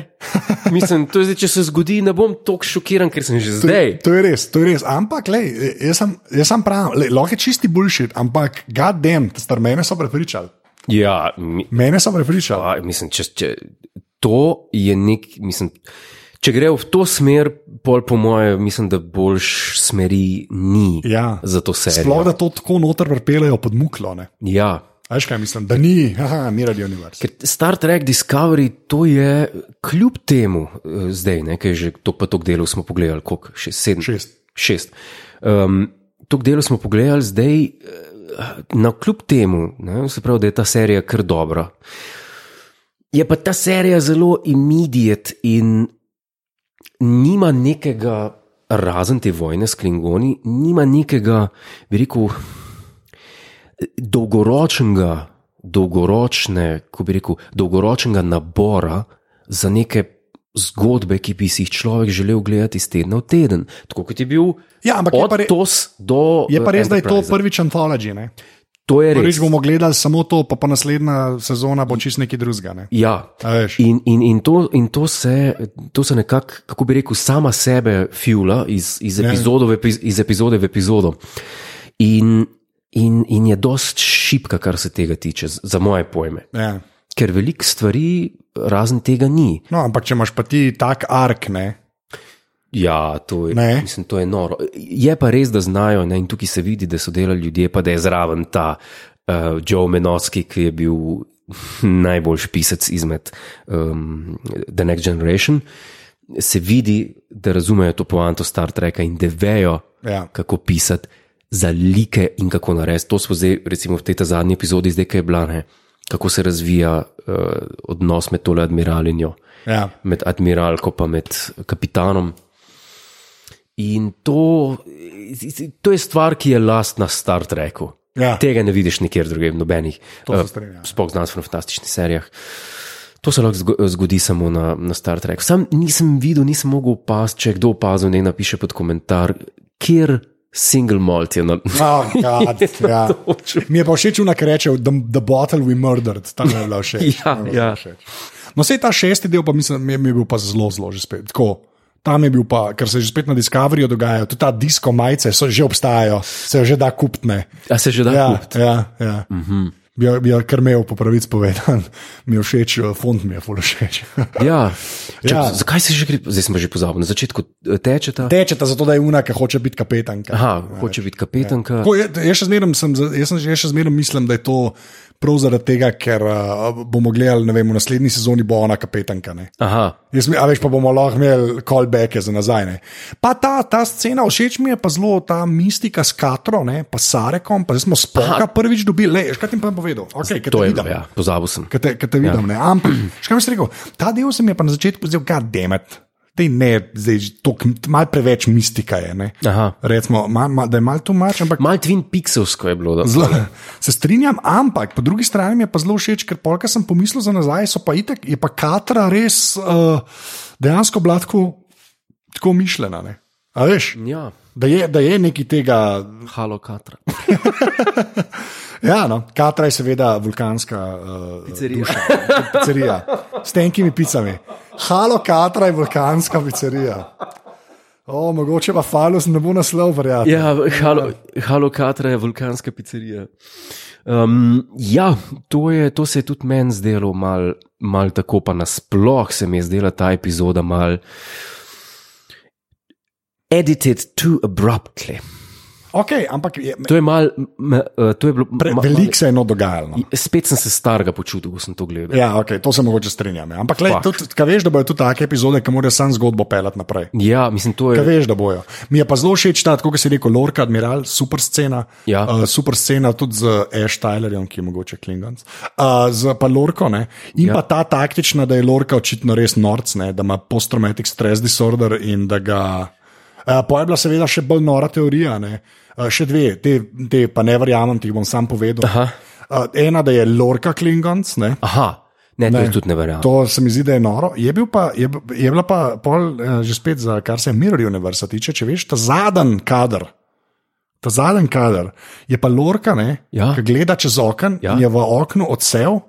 [SPEAKER 1] Mislim, to je zdaj, če se zgodi, ne bom tako šokiran, ker sem že
[SPEAKER 2] To,
[SPEAKER 1] zdaj.
[SPEAKER 2] to je res, to je res. Ampak, lej, jaz, sem, jaz sem pravim, lej, lahko je čisti bullshit, ampak, goddamn, star mene so prepričali.
[SPEAKER 1] Ja, mi,
[SPEAKER 2] Mene so prepričali.
[SPEAKER 1] pa, mislim, če, če, to je nek. Mislim, če gre v to smer, pol po moje, mislim, da boljš smeri ni
[SPEAKER 2] Ja.
[SPEAKER 1] za to serijo.
[SPEAKER 2] Sploh da to tako noter prepelejo pod muklo. ne.
[SPEAKER 1] Ja.
[SPEAKER 2] A Veš kaj mislim, da ni, haha, ni radio univerz.
[SPEAKER 1] Ker Star Trek Discovery, to je kljub temu, eh, zdaj, ne, ki je že to pa tok delov smo pogledali, koliko, šest, sedem,
[SPEAKER 2] Šest.
[SPEAKER 1] šest. Um, tok delov smo pogledali, zdaj, eh, na kljub temu, ne, se pravi, da je ta serija kar dobra. Je pa ta serija zelo immediate in nima nekega, razen te vojne s Klingoni, nima nekega, bi rekel, dolgoročnega, dolgoročne, ko bi rekel, dolgoročnega nabora za neke zgodbe, ki bi si jih človek želel gledati iz tedna v teden. Tako kot je bil
[SPEAKER 2] Ja, ampak je
[SPEAKER 1] od
[SPEAKER 2] pa re-
[SPEAKER 1] Tos do.
[SPEAKER 2] Je pa res, da je to
[SPEAKER 1] prvo.
[SPEAKER 2] prvič antologij. ne.
[SPEAKER 1] To je res.
[SPEAKER 2] Prvič bomo gledali samo to, pa pa naslednja sezona bo čist nekaj drugega. Ne.
[SPEAKER 1] Ja,
[SPEAKER 2] A veš.
[SPEAKER 1] in, in, in, to, in to se, to se nekako, kako bi rekel, sama sebe fjula iz, iz,
[SPEAKER 2] Ja.
[SPEAKER 1] epizodo v epiz, iz epizode v epizodo. In, in, in je dost šipka, kar se tega tiče, z- za moje pojme.
[SPEAKER 2] Ja.
[SPEAKER 1] Ker veliko stvari razen tega ni.
[SPEAKER 2] No, ampak če imaš pa ti tak ark, ne.
[SPEAKER 1] Ja, to je,
[SPEAKER 2] Ne.
[SPEAKER 1] mislim, to je noro. Je pa res, da znajo, ne, in tukaj se vidi, da so delali ljudje, pa da je zraven ta uh, Joe Menovski, ki je bil najboljši pisec izmed um, The Next Generation. Se vidi, da razumejo to poanto Star Treka in da vejo,
[SPEAKER 2] Ja.
[SPEAKER 1] kako pisati za like in kako narediti. To smo zdaj, recimo v tej ta zadnji epizodi, zdaj, ki je bila, ne, kako se razvija uh, odnos med tole admiralinjo
[SPEAKER 2] Ja.
[SPEAKER 1] med admiralko in med kapitanom. In to, to je stvar, ki je lastna Star Treku.
[SPEAKER 2] Ja.
[SPEAKER 1] Tega ne vidiš nikjer drugje, v nobenih, eh,
[SPEAKER 2] To se strinjam. ja.
[SPEAKER 1] sploh znanstveno-fantastičnih serijah. To se lahko zgo- zgodi samo na, na Star Treku. Sam nisem videl, nisem mogel opaziti, če je kdo opazil, naj napiše pod komentar, kjer single malt je na.
[SPEAKER 2] Oh, God, ja.
[SPEAKER 1] točno.
[SPEAKER 2] Mi je pa všeč, unak reče, the, the bottle we murdered, tam je bilo še.
[SPEAKER 1] Ja, ja.
[SPEAKER 2] No, sej ta šesti del, pa mislim, mi je, mi je bil pa zelo, zelo že spet. Tako. Tam je bil pa, ker se že spet na Discoveryju dogajajo, tudi ta disko majice so že obstajajo, se jo že da kupne.
[SPEAKER 1] A se že da?
[SPEAKER 2] Ja,
[SPEAKER 1] kupiti? Mhm.
[SPEAKER 2] ja, ja. Mm -hmm. Bi jo- bi jo kar imel po pravici povedan, mi je všeč, eh, font mi je ful všeč.
[SPEAKER 1] Ja. Čak,
[SPEAKER 2] Ja.
[SPEAKER 1] ja. Zakaj se že gre? Zdaj sem pa že pozabil. Na začetku eh, tečeta. Te...
[SPEAKER 2] Tečeta zato, da je unaka, hoče biti kapetanka.
[SPEAKER 1] Aha, hoče biti kapetanka.
[SPEAKER 2] Tako, jaz, jaz, še zmeram, sem, za- jaz, sem, jaz še zmeraj mislim, da je to prav zaradi tega, ker uh, bomo gledali, ne vem, v naslednji sezoni bo ona kapetanka. Ne?
[SPEAKER 1] Aha.
[SPEAKER 2] Jaz, mi- a veš, pa bomo lahko imeli callbacke za nazaj. Ne? Pa ta, ta scena, všeč mi je pa zelo ta mistika s Katro, ne? pa Sarekom, pa zdaj smo spoka prvič dobili, le, veš, kaj ti bom povedal. Okay, kaj
[SPEAKER 1] To
[SPEAKER 2] te
[SPEAKER 1] je,
[SPEAKER 2] vidim.
[SPEAKER 1] ja, pozabil sem.
[SPEAKER 2] Kaj te, kaj te vidim, ja. ampak še kaj bi rekel, ta del se mi je pa na začetku zdel, god damn it, te ne, zdaj že toliko- malo preveč mistika je. ne.
[SPEAKER 1] Aha.
[SPEAKER 2] Recimo, mal, mal, da je malo tu mač, ampak
[SPEAKER 1] Mal Twin Pixelsko je bilo. da-
[SPEAKER 2] Zelo, se strinjam, ampak po drugi strani mi je pa zelo všeč, ker polka sem pomislil za nazaj, so pa itek, je pa katra res uh, dejansko bila tako, tako mišljena. ne. A veš,
[SPEAKER 1] Ja,
[SPEAKER 2] da je, da je nekaj tega.
[SPEAKER 1] halo katra.
[SPEAKER 2] Ja, no, katra je seveda vulkanska uh,
[SPEAKER 1] Pizzerija.
[SPEAKER 2] duša, pizzerija s tenkimi picami. Halo, katra je vulkanska pizzerija. O, mogoče pa Falus ne bo naslov, verjamem.
[SPEAKER 1] Ja, halo, halo katra je vulkanska pizzerija. Um, ja, to, je, to se je tudi meni zdelo mal, mal tako, pa nasploh se mi je zdela ta epizoda mal. Edited too abruptly.
[SPEAKER 2] Okay, ampak je,
[SPEAKER 1] To je mal, m, m, to je bilo
[SPEAKER 2] pre,
[SPEAKER 1] ma-
[SPEAKER 2] veliko se je eno dogajalo. No.
[SPEAKER 1] Spet sem se starega počutil, ko sem to gledal.
[SPEAKER 2] Ja, okay, to se mogoče strinjam. ja. Ampak, lej,
[SPEAKER 1] Fak.
[SPEAKER 2] tudi, kaj veš, da bojo tudi take epizode, ki morajo sam zgodbo pelati naprej.
[SPEAKER 1] Ja, mislim, to
[SPEAKER 2] Kaj
[SPEAKER 1] je.
[SPEAKER 2] veš, da bojo. Mi je pa zelo všeč ta, kot si rekel, Lorca, Admiral, super scena.
[SPEAKER 1] Ja.
[SPEAKER 2] Uh, super scena tudi z Ash Tylerjem, ki je mogoče Klingons, uh, z pa Lorko. Ne? In ja. pa ta taktična, da je Lorka očitno res norc, ne? da ima post-traumatic stress disorder in da ga. Uh, Poje bila seveda še bolj nora teorija, ne? uh, še dve, te, te pa ne verjamem, ti jih bom sam povedal.
[SPEAKER 1] Aha.
[SPEAKER 2] Uh, ena, da je Lorka Klingons, ne?
[SPEAKER 1] Aha, ne, ne. to je tudi ne verjamem.
[SPEAKER 2] To se mi zdi, da je noro. Je, bil pa, je, b- je bila pa pol, eh, že spet, za, kar se Mirror Universa tiče, če veš, ta zadnji kader. Ta zadnji kader je pa Lorka, ne,
[SPEAKER 1] Ja.
[SPEAKER 2] ki gleda čez okno ja.
[SPEAKER 1] Ja.
[SPEAKER 2] in je v oknu odsev,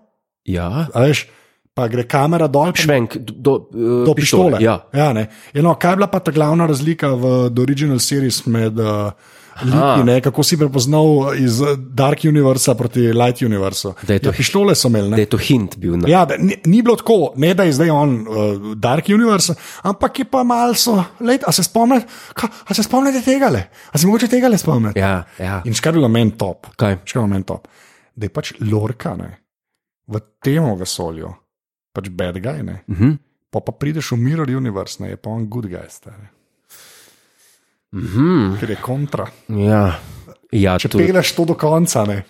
[SPEAKER 1] Ja,
[SPEAKER 2] a veš, pa gre kamera dol. pa
[SPEAKER 1] švenk do, do, eh,
[SPEAKER 2] Do pištole.
[SPEAKER 1] Ja.
[SPEAKER 2] Ja, ne. ja, no, kaj je bila pa ta glavna razlika v The Original Series med uh, liki, ne, kako si prepoznal iz eh, Dark Universa proti Light Universu?
[SPEAKER 1] Da je to-
[SPEAKER 2] ja, pištole so imeli. ne.
[SPEAKER 1] Da je to hint bil na.
[SPEAKER 2] Ja, da, ni, ni bilo tako, ne da je zdaj on uh, Dark Universe, ampak je pa malce, a se spomnite, ka- a se spomnite tega le, a se mogoče tega le spomnite.
[SPEAKER 1] Ja, ja.
[SPEAKER 2] In škar je bilo meni top,
[SPEAKER 1] Kaj?
[SPEAKER 2] škar je bilo meni top, da je pač lorka ne, v tem vesolju, pač bad guy, ne.
[SPEAKER 1] Uh -huh.
[SPEAKER 2] pa pa prideš v Mirror Universe, ne, je pa on good guy, stane,
[SPEAKER 1] Uh -huh.
[SPEAKER 2] ker je kontra.
[SPEAKER 1] Ja, ja,
[SPEAKER 2] Če
[SPEAKER 1] to,
[SPEAKER 2] peleš to do konca, ne.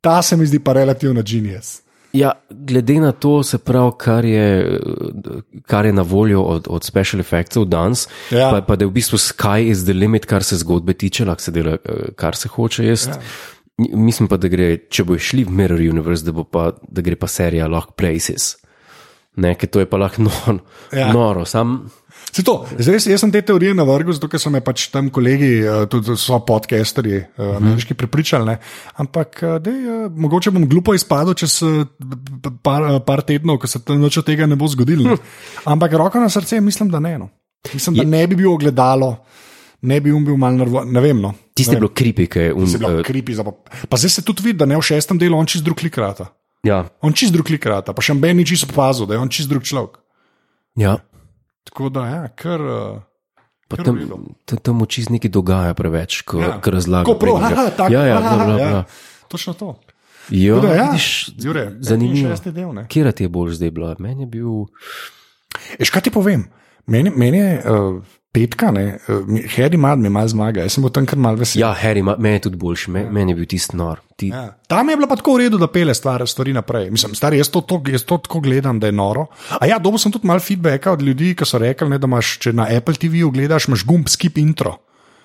[SPEAKER 2] ta se mi zdi pa relativno genius.
[SPEAKER 1] ja, glede na to, se pravi, kar je, eh, kar je na voljo od, od special effectsov danes,
[SPEAKER 2] Ja.
[SPEAKER 1] pa, pa da je v bistvu sky is the limit, kar se zgodbe tiče, lahko se dela, eh, kar se hoče. Jaz. Ja. Mislim pa, da gre, če bo šli v Mirror Universe, da, bo pa, da gre pa serija Lock Places. Ne, ker to je pa lahko nor,
[SPEAKER 2] Ja.
[SPEAKER 1] ja. noro, sam.
[SPEAKER 2] Se to, zdaj, jaz sem te teorije navrgel, zato ker so me pač tam kolegi, eh, tudi so podcasterji, eh, ameriški prepričali. Ne? Ampak eh, dej, eh, mogoče bom glupo izpadel čez eh, p- par, eh, par tednov, ko se tam nič od tega ne bo zgodilo. Ne? Ampak roko na srce, mislim, da ne. No. Mislim, da ne bi bil ogledalo, ne bi um bil mal nervozen. Ne vem. No.
[SPEAKER 1] Tiste je bilo kripi, ki je
[SPEAKER 2] Se
[SPEAKER 1] umrlo.
[SPEAKER 2] bilo kripi, za pa, pa zdaj se tudi vidi, da ne v šestem delu on čist drug likrata.
[SPEAKER 1] Ja,
[SPEAKER 2] On čist drug likrata, pa še meni čisto opazil, da je on čist drug človek.
[SPEAKER 1] ja.
[SPEAKER 2] Tako da, ja, kar. eh,
[SPEAKER 1] Pa
[SPEAKER 2] Kar
[SPEAKER 1] tam,
[SPEAKER 2] v redu.
[SPEAKER 1] tam, tam oči nekaj dogaja preveč, ko, ja. ko razlagaš.
[SPEAKER 2] Tako prav, aha, tako,
[SPEAKER 1] ja, ja,
[SPEAKER 2] aha,
[SPEAKER 1] bla, bla,
[SPEAKER 2] ja.
[SPEAKER 1] bla.
[SPEAKER 2] Točno to.
[SPEAKER 1] ja.
[SPEAKER 2] Da, ja,
[SPEAKER 1] vidiš,
[SPEAKER 2] Jure,
[SPEAKER 1] zanimivo.
[SPEAKER 2] Šesti del. ne.
[SPEAKER 1] Kje ti je bolj zdaj bila? Meni je bil.
[SPEAKER 2] Eš, kaj ti povem? Meni, meni je uh, petka, ne, uh, Harry Mad mi malo zmaga, jaz sem bil tam kar mal vesel.
[SPEAKER 1] Ja, Harry, ma- meni je tudi boljši, me, ja. meni je bil tisti nor. Ti, ja.
[SPEAKER 2] Ja. Tam je bilo pa tako v redu, da pele stvar, stvari naprej. Mislim, stari, jaz to, to, jaz to tako gledam, da je noro. A ja, dobil sem tudi malo feedbacka od ljudi, ki so rekli, ne, da imaš, če na Apple TV-ju gledaš, imaš gumb skip intro.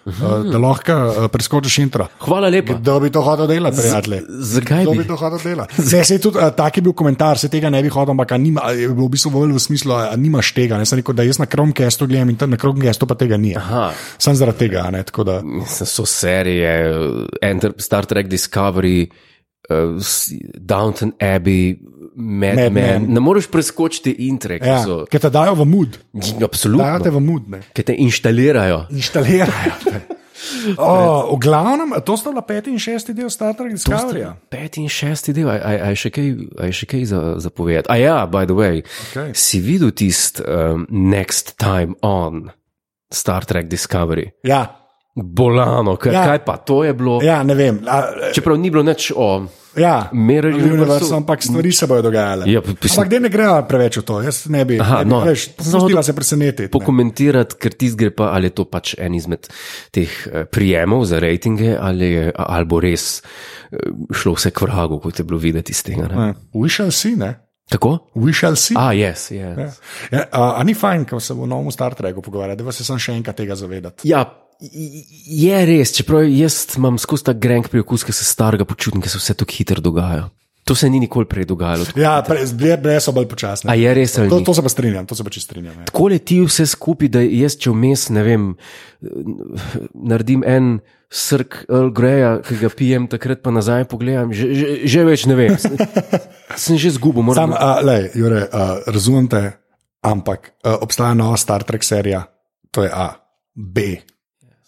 [SPEAKER 2] eh, da lahko eh, preskočiš intro.
[SPEAKER 1] Hvala lepa.
[SPEAKER 2] Kdo bi to hotel delati, prijatelji?
[SPEAKER 1] Zakaj
[SPEAKER 2] Kdo
[SPEAKER 1] bi?
[SPEAKER 2] bi to hotel delati? Ne, saj tudi, eh, Tak je bil komentar, se tega ne bi hotel, ampak a nima, a je bil v bistvu bolj v smislu, da nimaš tega. Ne, sem rekel, da jaz na Chromecastu gledam in tam na Chromecastu pa tega ni.
[SPEAKER 1] Aha.
[SPEAKER 2] Sam zaradi tega. a Ne, tako da,
[SPEAKER 1] Mislim, so serije, Enter, Star Trek Discovery, uh, s- Downton Abbey, Mad, Mad
[SPEAKER 2] Mad
[SPEAKER 1] Men.
[SPEAKER 2] Men.
[SPEAKER 1] Ne moreš preskočiti intre, ki ja.
[SPEAKER 2] ja,
[SPEAKER 1] so.
[SPEAKER 2] ker te dajo v mud, dajo te
[SPEAKER 1] Absolutno.
[SPEAKER 2] v mud. Ne.
[SPEAKER 1] Ki te inštalirajo.
[SPEAKER 2] Inštalirajo. te. O, v glavnem, to sta bila peti in šesti del Star Trek Discoveryja.
[SPEAKER 1] Peti in šesti del, aj, aj, aj še kaj, aj še kaj za, za povedati. A ja, by the way,
[SPEAKER 2] Kaj?
[SPEAKER 1] si videl tisti um, Next Time on Star Trek Discovery?
[SPEAKER 2] Ja,
[SPEAKER 1] Bolano, kaj, ja.
[SPEAKER 2] Ja.
[SPEAKER 1] kaj pa to je bilo? Ja.
[SPEAKER 2] ja, ne vem. A,
[SPEAKER 1] Čeprav ni bilo nič o.
[SPEAKER 2] ja,
[SPEAKER 1] Mirror Universe,
[SPEAKER 2] universe, ampak stvari se bodo dogajale.
[SPEAKER 1] Ja, pa mislim-
[SPEAKER 2] ampak kde ne greva preveč v to, jaz ne bi.
[SPEAKER 1] Aha,
[SPEAKER 2] ne bi
[SPEAKER 1] no.
[SPEAKER 2] Veš, pustila se presenetiti. ne.
[SPEAKER 1] pokomentirati, ker tisti gre pa, ali je to pač en izmed teh eh, prijemov za rejtinge, ali, je- a- ali bo res eh, šlo vse k vragu, kot je bilo videti iz tega. Ne?
[SPEAKER 2] Ne. We shall see, ne?
[SPEAKER 1] Tako?
[SPEAKER 2] We shall see.
[SPEAKER 1] A, yes, yes.
[SPEAKER 2] Ja. Ja, a, a ni fajn, ko se v novem Star Treku pogovarjate, da vas se sam še enkrat tega zavedati.
[SPEAKER 1] Ja, j- je res, čeprav jaz imam skozi ta grenk priokus, ker se starega počutim, ker se vse tako hitro dogaja. To se ni nikoli prej dogajalo. tako.
[SPEAKER 2] Ja, pre- bile, bile so bolj počasne.
[SPEAKER 1] A je res ali
[SPEAKER 2] To,
[SPEAKER 1] ni?
[SPEAKER 2] to se pa strinjam, to se pa čisto strinjam. ja.
[SPEAKER 1] Tako leti vse skupaj, da jaz če vmes, ne vem, naredim en srk Earl Greya, ki ga pijem, takrat pa nazaj pogledam, že, že, že več ne vem. Sem, sem že zgubil,
[SPEAKER 2] Sam,
[SPEAKER 1] moram.
[SPEAKER 2] a, lej, Jure, a, razumem te, ampak a, obstaja nova Star Trek serija, to je A, B.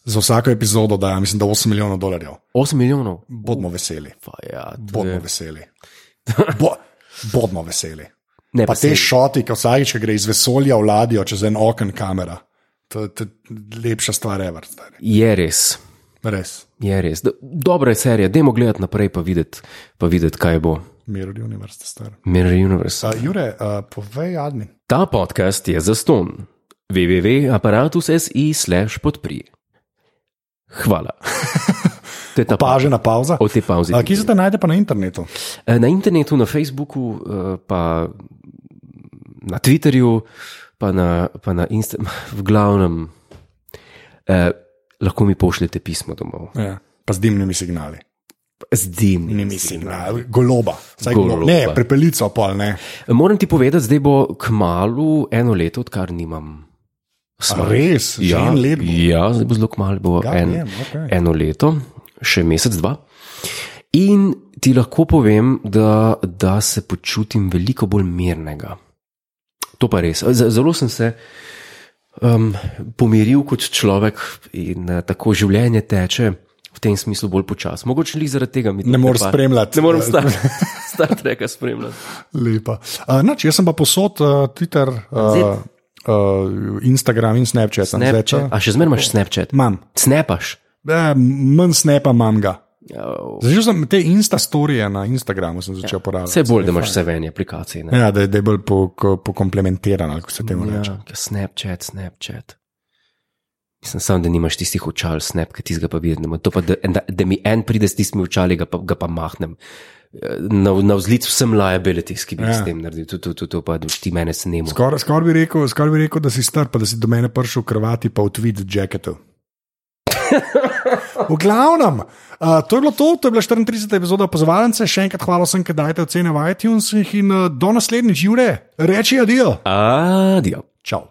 [SPEAKER 2] Za vsako epizodo dajo, mislim, da 8 milijonov dolarjev.
[SPEAKER 1] 8 milijonov.
[SPEAKER 2] Bodimo veseli,
[SPEAKER 1] Pa, ja, to
[SPEAKER 2] bodimo
[SPEAKER 1] je-
[SPEAKER 2] veseli. Bo, bodimo veseli.
[SPEAKER 1] ne,
[SPEAKER 2] E Pa te
[SPEAKER 1] saj-
[SPEAKER 2] šoti, ki vsakič ko gre iz vesolja v ladjo čez en oken kamera. To je lepša stvar, ever, stari.
[SPEAKER 1] je res.
[SPEAKER 2] res.
[SPEAKER 1] Je res. Do, dobra je serija, dajmo gledati naprej, pa videti, pa videti kaj bo.
[SPEAKER 2] Mirror univerz, star.
[SPEAKER 1] Mirror Universe.
[SPEAKER 2] Uh, Jure, uh, povej, admin.
[SPEAKER 1] Ta podcast je zaston. www.apparatus.si/slash podprij. Hvala. To je ta pa,
[SPEAKER 2] Pažena pauza.
[SPEAKER 1] o tej pauzi.
[SPEAKER 2] Uh, kje se te najde pa na internetu?
[SPEAKER 1] E, Na internetu, na Facebooku, eh, pa na Twitterju, pa na, pa na Instagramu, v glavnem, eh, lahko mi pošljete pismo domov.
[SPEAKER 2] Ja. Pa z dimnimi signali.
[SPEAKER 1] Z dimnim.
[SPEAKER 2] Nimi signali. Goloba. Vsaj goloba.
[SPEAKER 1] Goloba.
[SPEAKER 2] goloba. Ne, prepelico pol ne.
[SPEAKER 1] Moram ti povedati, zdaj bo k malu eno leto, odkar nimam.
[SPEAKER 2] A res, že en let bo.
[SPEAKER 1] Ja, zdaj bo zelo kmalo, bo
[SPEAKER 2] Ja,
[SPEAKER 1] en,
[SPEAKER 2] vem, okej.
[SPEAKER 1] eno leto, še mesec, dva. In ti lahko povem, da, da se počutim veliko bolj mirnega. To pa res. Z- Zelo sem se um, pomiril kot človek in eh, tako življenje teče v tem smislu bolj počasi. Mogoče li zaradi tega mi to
[SPEAKER 2] Ne moreš
[SPEAKER 1] pa-
[SPEAKER 2] spremljati.
[SPEAKER 1] Ne morem star, star treka spremljati.
[SPEAKER 2] Lepa. Uh, nač, jaz sem pa posod uh, Twitter, uh, uh, Instagram in Snapchat. sem zdaj, če-
[SPEAKER 1] Snapchat. A še zmeraj imaš Snapchat?
[SPEAKER 2] Imam.
[SPEAKER 1] Snapaš.
[SPEAKER 2] Eh, Manj snapa imam ga.
[SPEAKER 1] Oh.
[SPEAKER 2] Začel sem te instastorije na Instagramu sem začel uporabljati.
[SPEAKER 1] Ja. Vse bolj, da imaš vse v eni aplikaciji. Ne?
[SPEAKER 2] Ja, da je, da je bolj po- ko- pokomplementiran, ali kako se temu reče.
[SPEAKER 1] Ja, ker Snapchat, Snapchat. Mislim, sam, da nimaš tistih očal, snap, ki ti ga pa vidim. To pa, da, da, da mi en pride s tistimi očali, ga pa, ga pa mahnem. Eh, Na, na vzlic vsem liabilities, ki bi ja.
[SPEAKER 2] Ja.
[SPEAKER 1] s tem naredil. To, to, to, to pa ti mene snemo.
[SPEAKER 2] Skoraj skor bi, rekel- skoraj bi rekel, da si star, pa da si do mene prišel v kravati, pa v tweed jacketu. V glavnem, uh, to je bilo to, to je bila 34. epizoda opozovalence, še enkrat hvala vsem, ki dajete ocene v iTunesih in uh, do naslednjič, Jure, reči adijo.
[SPEAKER 1] Adijo.
[SPEAKER 2] Čau.